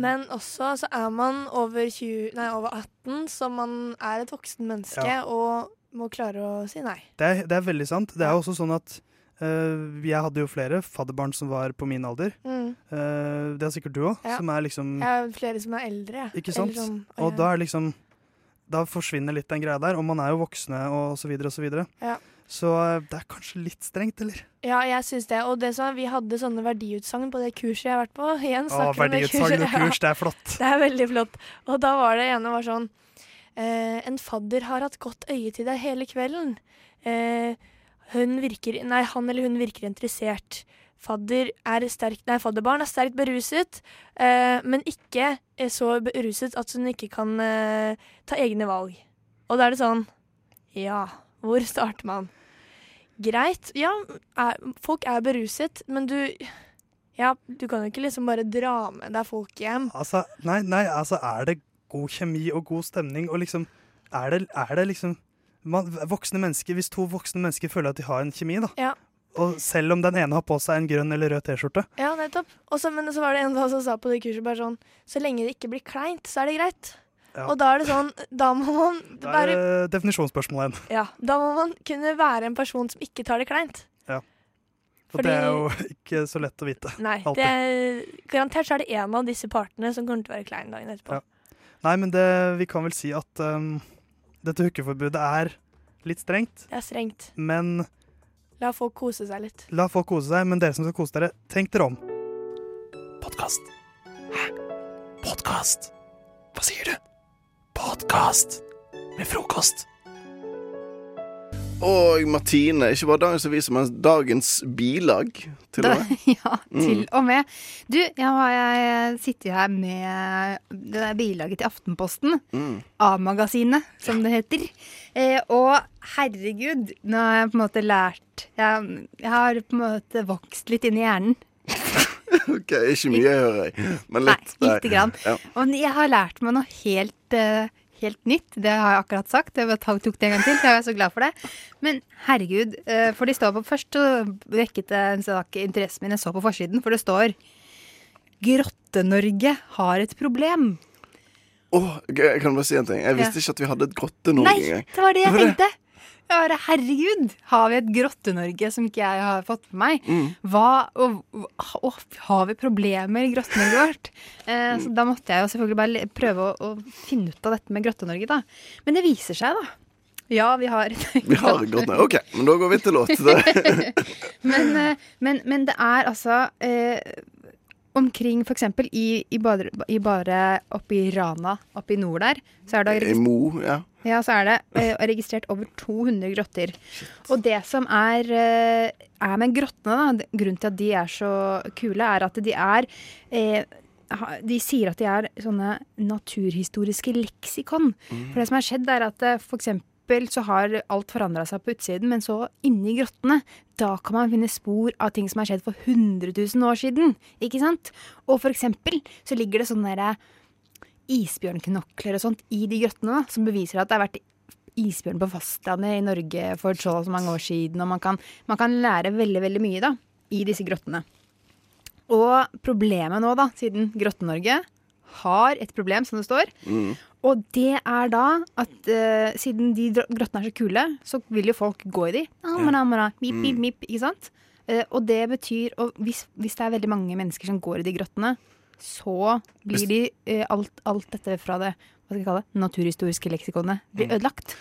S: Men også så er man over, 20, nei, over 18, så man er et voksen menneske
C: Ja.
S: og må klare å si nei.
C: det er, det er veldig sant. Det er jo også sånn at eh, jeg hadde jo flere fadderbarn som var på min alder.
S: Mm.
C: Eh, det har sikkert du òg,
S: Ja.
C: som er liksom
S: Jeg har flere som er eldre. jeg.
C: Ikke sant?
S: Eller sånn,
C: og
S: eh,
C: da er liksom Da forsvinner litt den greia der, og man er jo voksne og så videre og så videre.
S: Ja.
C: Så eh, det er kanskje litt strengt, eller?
S: Ja, jeg syns det. Og det som er, vi hadde sånne verdiutsagn på det kurset jeg har vært på. Igjen
C: Å,
S: snakker vi om det kurset.
C: verdiutsagn og kurs, det er flott.
S: (laughs) Ja, det er veldig flott. Og da var det ene var sånn eh, En fadder har hatt godt øye til deg hele kvelden. Eh, hun virker Nei, han eller hun virker interessert. Fadder er sterkt, nei, fadderbarn er sterkt beruset, eh, men ikke eh, så beruset at hun ikke kan eh, ta egne valg. Og da er det sånn Ja, hvor starter man? Greit. Ja, er, folk er beruset, men du Ja, du kan jo ikke liksom bare dra med deg folk hjem.
C: Altså, nei, nei, altså, er det god kjemi og god stemning, og liksom Er det, er det liksom man, Voksne mennesker, hvis to voksne mennesker føler at de har en kjemi, da,
S: Ja.
C: og selv om den ene har på seg en grønn eller rød T-skjorte
S: Ja, nettopp. Og så- men så var det en da som sa på det kurset bare sånn Så lenge det ikke blir kleint, så er det greit.
C: Ja.
S: Og da er det sånn Da må man
C: Da er det
S: være
C: definisjonsspørsmål igjen.
S: Ja, da må man kunne være en person som ikke tar det kleint.
C: Ja. Og
S: Fordi-
C: det er jo ikke så lett å vite.
S: Nei.
C: alltid.
S: Det er, garantert så er det en av disse partene som kommer til å være klein dagen etterpå.
C: Ja. Nei, men det, vi kan vel si at um, dette hookeforbudet er litt strengt,
S: Det er strengt.
C: men
S: La folk kose seg litt.
C: la folk kose seg. Men dere som skal kose dere, tenk dere om.
I: Podkast. Hæ? Podkast? Hva sier du? Podkast med frokost.
T: Og Martine, ikke bare dagens avis, men dagens bilag. Til og
U: (laughs)
T: med.
U: Ja, til
T: Mm.
U: og med. Du, jeg har jeg sitter her med det der bilaget til Aftenposten.
T: Mm.
U: A-magasinet, som det heter. Eh, og herregud, nå har jeg på en måte lært Jeg, jeg har på en måte vokst litt inni hjernen.
T: Ok, ikke mye, hører jeg. Men litt.
U: Nei, lite grann.
T: Ja.
U: Og jeg har lært meg noe helt, eh, helt nytt. Det har jeg akkurat sagt. Jeg bare tok det en gang til, så jeg er så glad for det. Men herregud, eh, for de står på først så vekket det en sak interessen min. Jeg så på forsiden, for det står Grotte-Norge har et problem.
T: Åh, jeg kan bare si en ting. Jeg visste
U: Ja.
T: ikke at vi hadde et grotte-Norge
U: Nei,
T: engang.
U: det var det jeg
T: Hvorfor det?
U: tenkte. Jeg bare, herregud, har vi et Grotte-Norge som ikke jeg har fått med meg?
T: Mm.
U: Hva, og, og, har vi problemer i Grotte-Norge vårt? Eh,
T: Mm.
U: så da måtte jeg jo selvfølgelig bare le- prøve å, å finne ut av dette med Grotte-Norge, da. Men det viser seg, da. Ja, vi har
T: (laughs) Vi har et grotte-Norge. OK, men da går vi til låt. (laughs) Det.
U: (laughs) men, eh, men, men det er altså eh, Omkring f.eks. I, i, bare, i bare oppe i Rana, oppe i nord der, så er det
T: I Mo, ja.
U: ja, så er det eh, registrert over 200 grotter. Og det som er, eh, er med grottene, da, det- grunnen til at de er så kule, er at de er eh, ha- de sier at de er sånne naturhistoriske leksikon.
V: Mm.
U: For det som har skjedd, er at eh, for eksempel så har alt forandra seg på utsiden, men så inni grottene, da kan man finne spor av ting som har skjedd for 100 000 år siden. Ikke sant? Og for eksempel så ligger det sånne derre isbjørnknokler og sånt i de grøttene, da, som beviser at det har vært isbjørn på fastlandet i Norge for så og så mange år siden. Og man kan, man kan lære veldig, veldig mye da, i disse grottene. Og problemet nå, da, siden Grotte-Norge har et problem, som det står,
E: Mm.
U: og det er da at eh, siden de dro- grottene er så kule, så vil jo folk gå i de. Amara, amara, mip, mip,
E: Mm.
U: mip, ikke sant? Eh, og det betyr og hvis, hvis det er veldig mange mennesker som går i de grottene, så blir
B: Hvis-
U: de eh, alt, alt dette fra det hva skal jeg kalle det, naturhistoriske leksikonet blir ødelagt.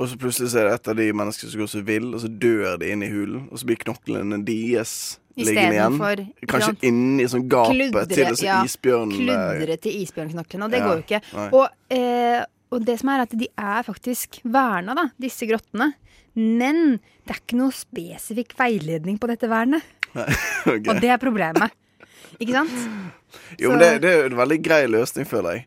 T: Og så plutselig så er det et av de menneskene som går så vill, og så dør de inne i hulen. Og så blir knoklene deres
U: I
T: liggende
U: stedet
T: igjen.
U: for-
T: Kanskje
U: sant?
T: inni sånn gapet til disse
U: ja,
T: isbjørn... eh,
U: kludre til isbjørnknoklene, og det
T: Ja,
U: går jo ikke.
T: nei.
U: Og, eh, og det som er at de er faktisk verna, da, disse grottene. Men det er ikke noe spesifikk veiledning på dette vernet.
T: Nei, (laughs) ok.
U: Og det er problemet. Ikke sant?
T: Jo, men det, det er jo en veldig grei løsning, føler jeg.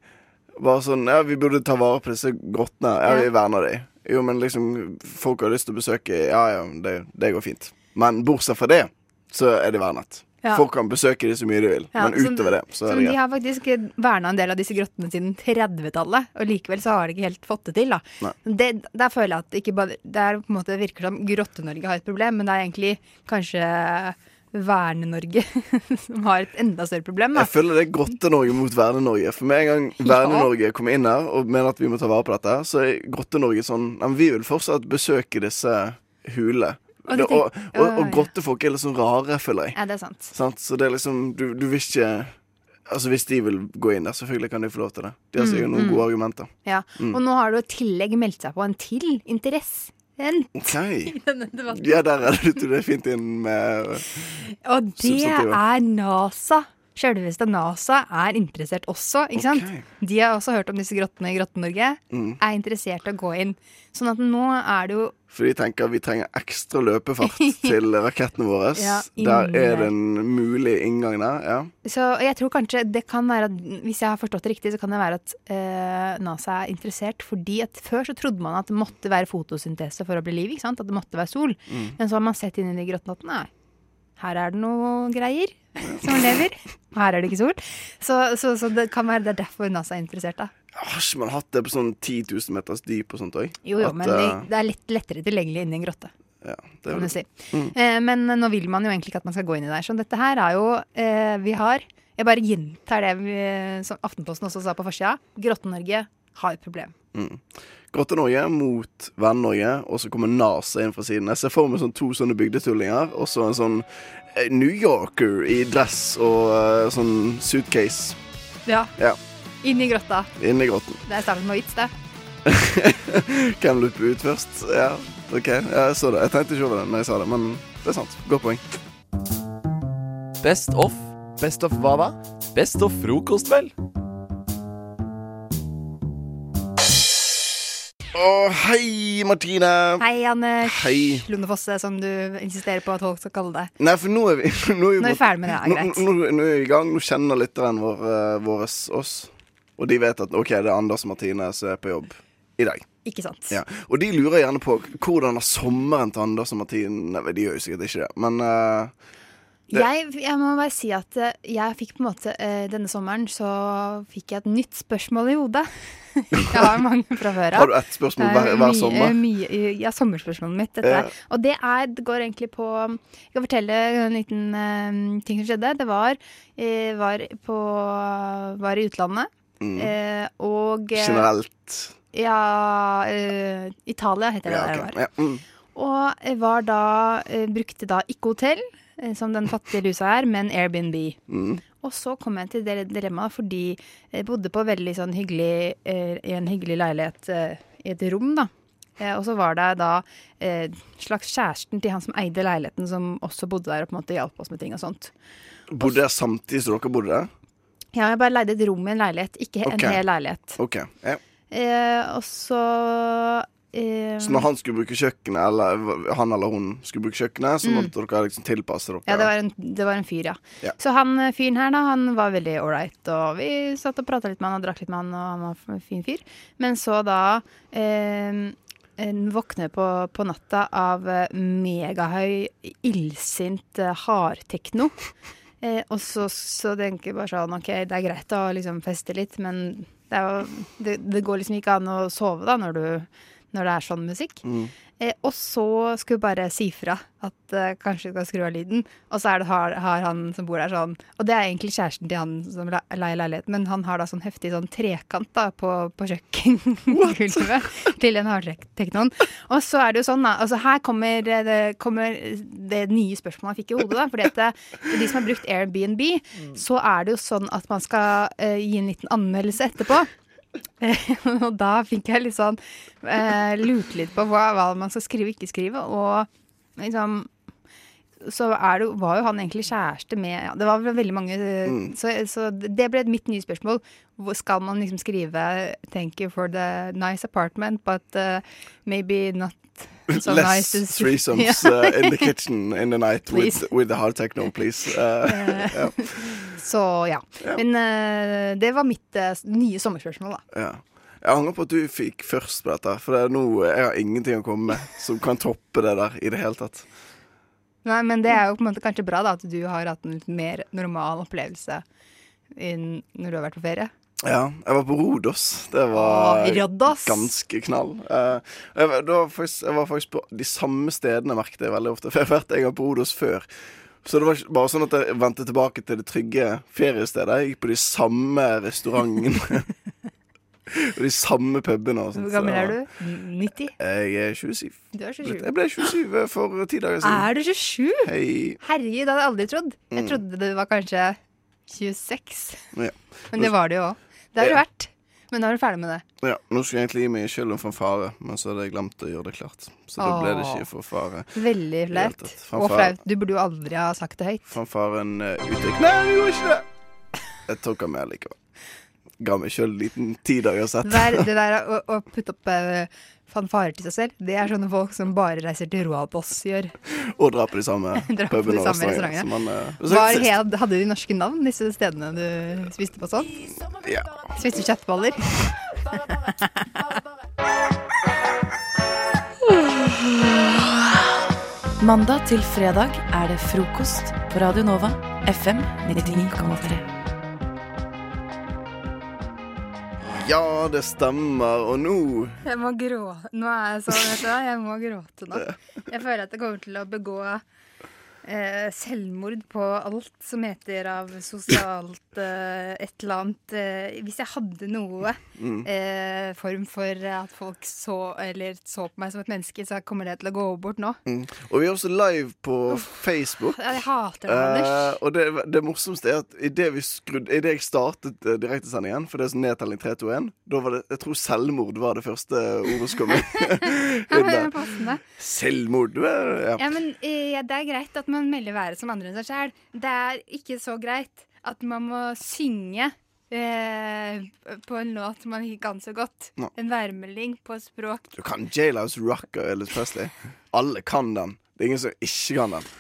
T: Bare sånn Ja, vi burde ta vare på disse grottene. Ja, vi verner de. Jo, men liksom Folk har lyst til å besøke Ja, ja, det, det går fint. Men bortsett fra det, så er de vernet.
U: Ja.
T: Folk kan besøke de så mye de vil,
U: Ja,
T: men
U: som-
T: utover det, så
U: som
T: er det
U: de
T: greit.
U: har faktisk verna en del av disse grottene siden 30-tallet, og likevel så har de ikke helt fått det til. da.
T: Nei.
U: Det, der føler jeg at det ikke bare, det er på en måte det virker som Grotte-Norge har et problem, men det er egentlig kanskje Verne-Norge (laughs) som har et enda større problem. da.
T: Jeg føler det er Grotte-Norge mot Verne-Norge. For med en gang Verne-Norge kommer inn her og mener at vi må ta vare på dette, så er Grotte-Norge sånn Nei, men vi vil fortsatt besøke disse hulene. Og,
U: Og de
T: det, og,
U: tenker-
T: og,
U: Å, ja.
T: og grottefolk er litt sånn rare, føler jeg.
U: Ja, det er sant.
T: Sant? Så det er liksom du, du vil ikke Altså Hvis de vil gå inn der, selvfølgelig kan de få lov til det. De har sikkert
U: Mm,
T: noen
U: mm.
T: gode argumenter.
U: Ja.
T: Mm.
U: Og nå har du i tillegg meldt seg på en til interesse.
T: OK.
U: I denne debatten.
T: Ja, der er det, det er fint inn med
U: Og det
T: Substantivet.
U: er NASA. Selveste NASA er interessert også, ikke sant? De har også hørt om disse grottene i Grotten-Norge.
T: Mm.
U: Er interessert i å gå inn. Sånn at nå er det jo
T: For de tenker vi trenger ekstra
U: (laughs)
T: løpefart til rakettene våre.
U: Ja, inn
T: der
U: der.
T: er det en mulig inngang der. Ja.
U: Så jeg tror kanskje det kan være at Hvis jeg har forstått det riktig, så kan det være at eh, NASA er interessert fordi at før så trodde man at det måtte være fotosyntese for å bli liv, ikke sant? At det måtte være sol.
E: Mm.
U: Men så har man sett inn i de grottene at nei, her er det noe greier som lever. Her er det ikke sol. Så, så, så det kan være det er derfor NASA er interessert, da.
T: Har ikke man hatt det på sånn 10 000 meters dyp og sånt òg?
U: Jo, jo, men det, det er litt lettere tilgjengelig inni en grotte.
T: ja, eh, det er
U: Kan
T: vel-
U: du si.
T: Mm.
U: Eh, men nå vil man jo egentlig ikke at man skal gå inn i der. Så dette her er jo eh, Vi har Jeg bare gjentar det vi, som Aftenposten også sa på forsida. Grotte-Norge har et problem.
T: Mm. Grotte Norge mot Venn Norge, og så kommer NASA inn fra siden. Jeg ser for meg sånn to sånne bygdetullinger, og så en sånn eh, New Yorker i dress og eh, sånn suitcase.
U: Ja.
T: Ja,
U: Inn i grotta.
T: inn i grotten. (laughs)
U: Det er starten på vits, det.
T: Hvem løper ut først? Ja, OK. Ja, jeg så det. Jeg tenkte ikke over det når jeg sa det, men det er sant. Godt poeng.
A: Best of.
D: Best of hva da?
A: Best of frokost, vel?
T: Å, hei, Martine.
U: Hei, Anders
T: Hei.
U: Lundefosse, som du insisterer på at folk skal kalle deg.
T: Nei, for nå er vi (laughs) Nå
U: Nå er vi ferdig med det, ja,
T: Nå-
U: greit.
T: Nå, nå, nå er vi i gang. Nå kjenner lytteren vår eh, våres oss. Og de vet at OK, det er Anders og Martine som er på jobb i dag.
U: Ikke sant?
T: Ja. Og de lurer gjerne på hvordan har sommeren til Anders og Martine Nei, de gjør jo sikkert ikke det, men eh, det,
U: Jeg, jeg må bare si at eh, jeg fikk på en måte eh, Denne sommeren så fikk jeg et nytt spørsmål i hodet. (laughs) jeg har mange fra før av.
T: Har du ett spørsmål
U: Det er
T: hver- hver
U: mye-
T: sommer?
U: Mye, ja, sommerspørsmålet mitt. Dette.
T: Ja.
U: er. Og det er, det går egentlig på Jeg kan fortelle en liten eh, ting som skjedde. Det var, eh, var, på, var i utlandet.
T: Mm.
U: eh, og eh,
T: Generelt.
U: Ja eh, Italia heter det
T: Ja,
U: der
T: ok.
U: det var.
T: Ja, mm.
U: Og eh, var da, eh, brukte da ikke hotell, eh, som den fattige lusa er, men Airbnb.
T: Mm.
U: Og så kom jeg til det dilemmaet fordi jeg bodde på veldig sånn hyggelig, eh, i en hyggelig leilighet eh, i et rom, da. Eh, og så var det da eh, slags kjæresten til han som eide leiligheten, som også bodde der og på en måte hjalp oss med ting og sånt.
T: Bodde jeg samtidig som dere bodde der?
U: Ja, jeg bare leide et rom i en leilighet, ikke
T: Ok.
U: en hel leilighet.
T: OK. Ja.
U: Eh, og så eh,
T: Så når han skulle bruke kjøkkenet, eller han eller hun skulle bruke kjøkkenet, så
U: Mm.
T: måtte dere liksom tilpasse dere?
U: Ja, det var, en, det var en fyr, ja.
T: Ja.
U: Så han eh, fyren her, da, han var veldig ålreit. Og vi satt og prata litt med han og drakk litt med han, og han var en fin fyr. Men så da eh, en våkner på, på natta av eh, megahøy, illsint eh, hardtekno. (laughs) Eh, og så, så tenker jeg bare sånn OK, det er greit å liksom feste litt, men det, er jo, det, det går liksom ikke an å sove da når, du, når det er sånn musikk.
T: Mm.
U: Eh, og så skulle jeg bare si fra at eh, kanskje du skal skru av lyden. Og så er det, har, har han som bor der sånn Og det er egentlig kjæresten til han som le- leier leiligheten, men han har da sånn heftig sånn trekant da på, på (laughs) kjøkkengulvet til den hardteknoen. Og så er det jo sånn, da. Altså her kommer eh, det, kommer det nye spørsmålet han fikk i hodet, da. Fordi at eh, de som har brukt Airbnb, så er det jo sånn at man skal eh, gi en liten anmeldelse etterpå. (laughs) og da fikk jeg litt sånn eh, Lurte litt på hva, hva man skal skrive og ikke skrive. Og liksom Så er det, jo- var jo han egentlig kjæreste med ja, Det var vel veldig mange eh,
T: Mm.
U: så, så det ble mitt nye spørsmål. Hvor skal man liksom skrive 'Thank you for the nice apartment, but eh, maybe not so
T: Less
U: nice to see- (laughs)
T: threesomes
U: Ja.
T: uh, in the kitchen in the night
U: Please.
T: with, with the hard techno, please. Uh, ja.
U: Så ja.
T: Ja.
U: Men eh, det var mitt eh, nye sommerspørsmål, da.
T: Ja. Jeg angrer på at du fikk først på dette, for det er nå jeg har ingenting å komme med som kan toppe det der i det hele tatt.
U: Nei, men det er jo på en måte kanskje bra da, at du har hatt en litt mer normal opplevelse inn- når du har vært på ferie.
T: Ja, jeg var på Rodos. Det var
U: Åh, Rodos.
T: ganske knall. Eh, jeg, var- da var faktisk, jeg var faktisk på de samme stedene, merket jeg veldig ofte. (laughs) For jeg har vært en gang på Rodos før. Så det var ikke bare sånn at jeg vendte tilbake til det trygge feriestedet. Jeg gikk på de samme
U: (laughs)
T: restaurantene. (laughs) og de samme pubene. og sånt,
U: Hvor
T: så
U: gammel
T: det
U: er
T: var-
U: du? 90?
T: Jeg er 27.
U: Du er 27.
T: Jeg ble 27 for ti dager siden.
U: Er du 27?
T: Hei.
U: Herregud, det hadde jeg aldri trodd. Jeg
T: Mm.
U: trodde det var kanskje 26.
T: Ja.
U: Men det var det jo òg. Det har du vært. Men nå er du ferdig med det.
T: Ja, Nå skulle jeg egentlig gi meg skylden for fanfare, men så hadde jeg glemt å gjøre det klart. Så da ble det
U: Åh.
T: ikke fanfare.
U: Veldig flaut.
T: Hjertet.
U: Og
T: Fanfare.
U: flaut. Du burde jo aldri ha sagt det høyt.
T: Fanfaren eh, utgikk Nei, det gjorde ikke det! Jeg tok den med likevel. Ga meg sjøl en liten tidagerssett.
U: Det der, det der å, å putte opp eh, fanfarer til seg selv, det er sånne folk som bare reiser til Roalboss gjør.
T: (laughs)
U: (laughs)
T: Og dra på de samme
U: Dra på de
T: pubene og
U: samme
T: restaurantene. som
U: restaurantene.
T: man, eh,
U: Var,
T: besøkte sist.
U: had- hadde de norske navn, disse stedene du spiste på sånn?
T: Ja.
U: Spiste kjøttboller?
D: Mandag til fredag er det frokost på Radio Nova FM 99,3.
T: Ja, det stemmer. Og nå
U: Jeg må gråte. Nå er jeg sånn, vet du hva. Jeg må gråte nå. Jeg føler at jeg kommer til å begå eh, selvmord på alt som heter av sosialt eh, et eller annet. Eh, hvis jeg hadde noe
E: Mm.
U: eh, form for at folk så, eller så på meg som et menneske, så kommer det til å gå bort nå.
T: Mm. Og vi er også live på Facebook.
U: Jeg hater det, Anders.
T: Eh, og det, det morsomste er at idet vi skrudd- i det jeg startet eh, direktesendingen, for det er sånn nedtelling 3, 2, 1, da var det Jeg tror selvmord var det første ordet som kom
U: (laughs) Ja,
T: inn.
U: men det er passende.
T: Selvmord du er- ja.
U: Ja, men eh, ja, Det er greit at man melder været som andre enn seg sjæl. Det er ikke så greit at man må synge eh, på en låt man ikke kan så godt.
T: Nei.
U: En værmelding på et språk.
T: Du kan Jailhouse Rock av Ellis Presley. Alle kan den. Det er ingen som ikke kan den.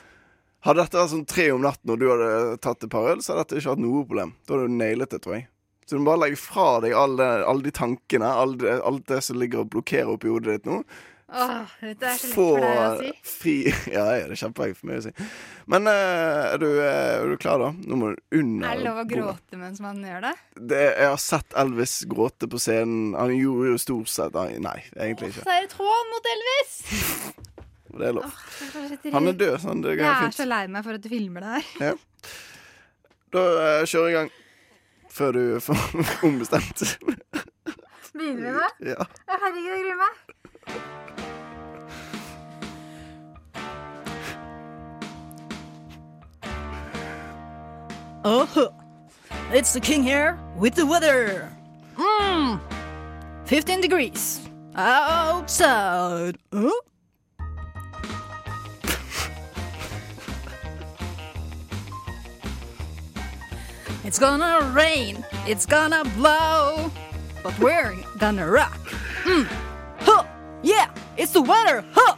T: Hadde dette vært sånn tre om natten og du hadde tatt et par øl, så hadde dette ikke vært noe problem. Da hadde du nailet det, tror jeg. Så du må bare legge fra deg alle, alle de tankene, alle det, alt det som ligger og blokkerer oppi hodet ditt nå.
U: Åh, dette er så lett
T: Få
U: for deg å si.
T: fri (laughs) Ja, ja, det er kjempeenkelt for meg å si. Men eh, er, du, eh, er du klar, da? Nå må du under
U: Er det lov å
T: bordet.
U: gråte mens man gjør det?
T: Det, jeg har sett Elvis gråte på scenen. Han gjorde jo stort sett Nei, egentlig ikke.
U: Så er det tråd mot Elvis!
T: Det er lov.
U: Åh, det
T: Han er død, så han- det går
U: Jeg
T: fint.
U: er så lei meg for at du filmer det her.
T: Ja. Da eh, kjører jeg i gang. Før du (laughs) får ombestemt.
U: Begynner vi med
T: ja.
U: Å, Herregud, jeg gruer meg.
V: Oh, (laughs) huh. it's the king here with the weather. Mmm, 15 degrees Oh. outside. Huh? (laughs) It's gonna rain, it's gonna blow, but we're gonna rock. Mm. Huh. Yeah, it's the weather. Huh.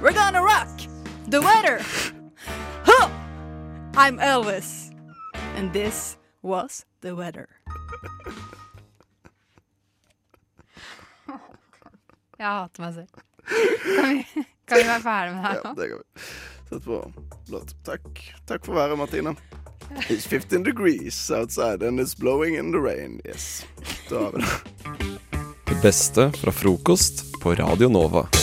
V: We're gonna rock the weather. Huh. I'm Elvis. And this was the weather.
U: Jeg hater meg selv. Kan vi, kan vi være ferdig med det her
T: ja,
U: nå?
T: det går vi. Sett på låt. Takk. Takk for været, Martine. It's 15 degrees outside and it's blowing in the rain. Yes. Da har vi det.
A: Det beste fra frokost på Radio Nova.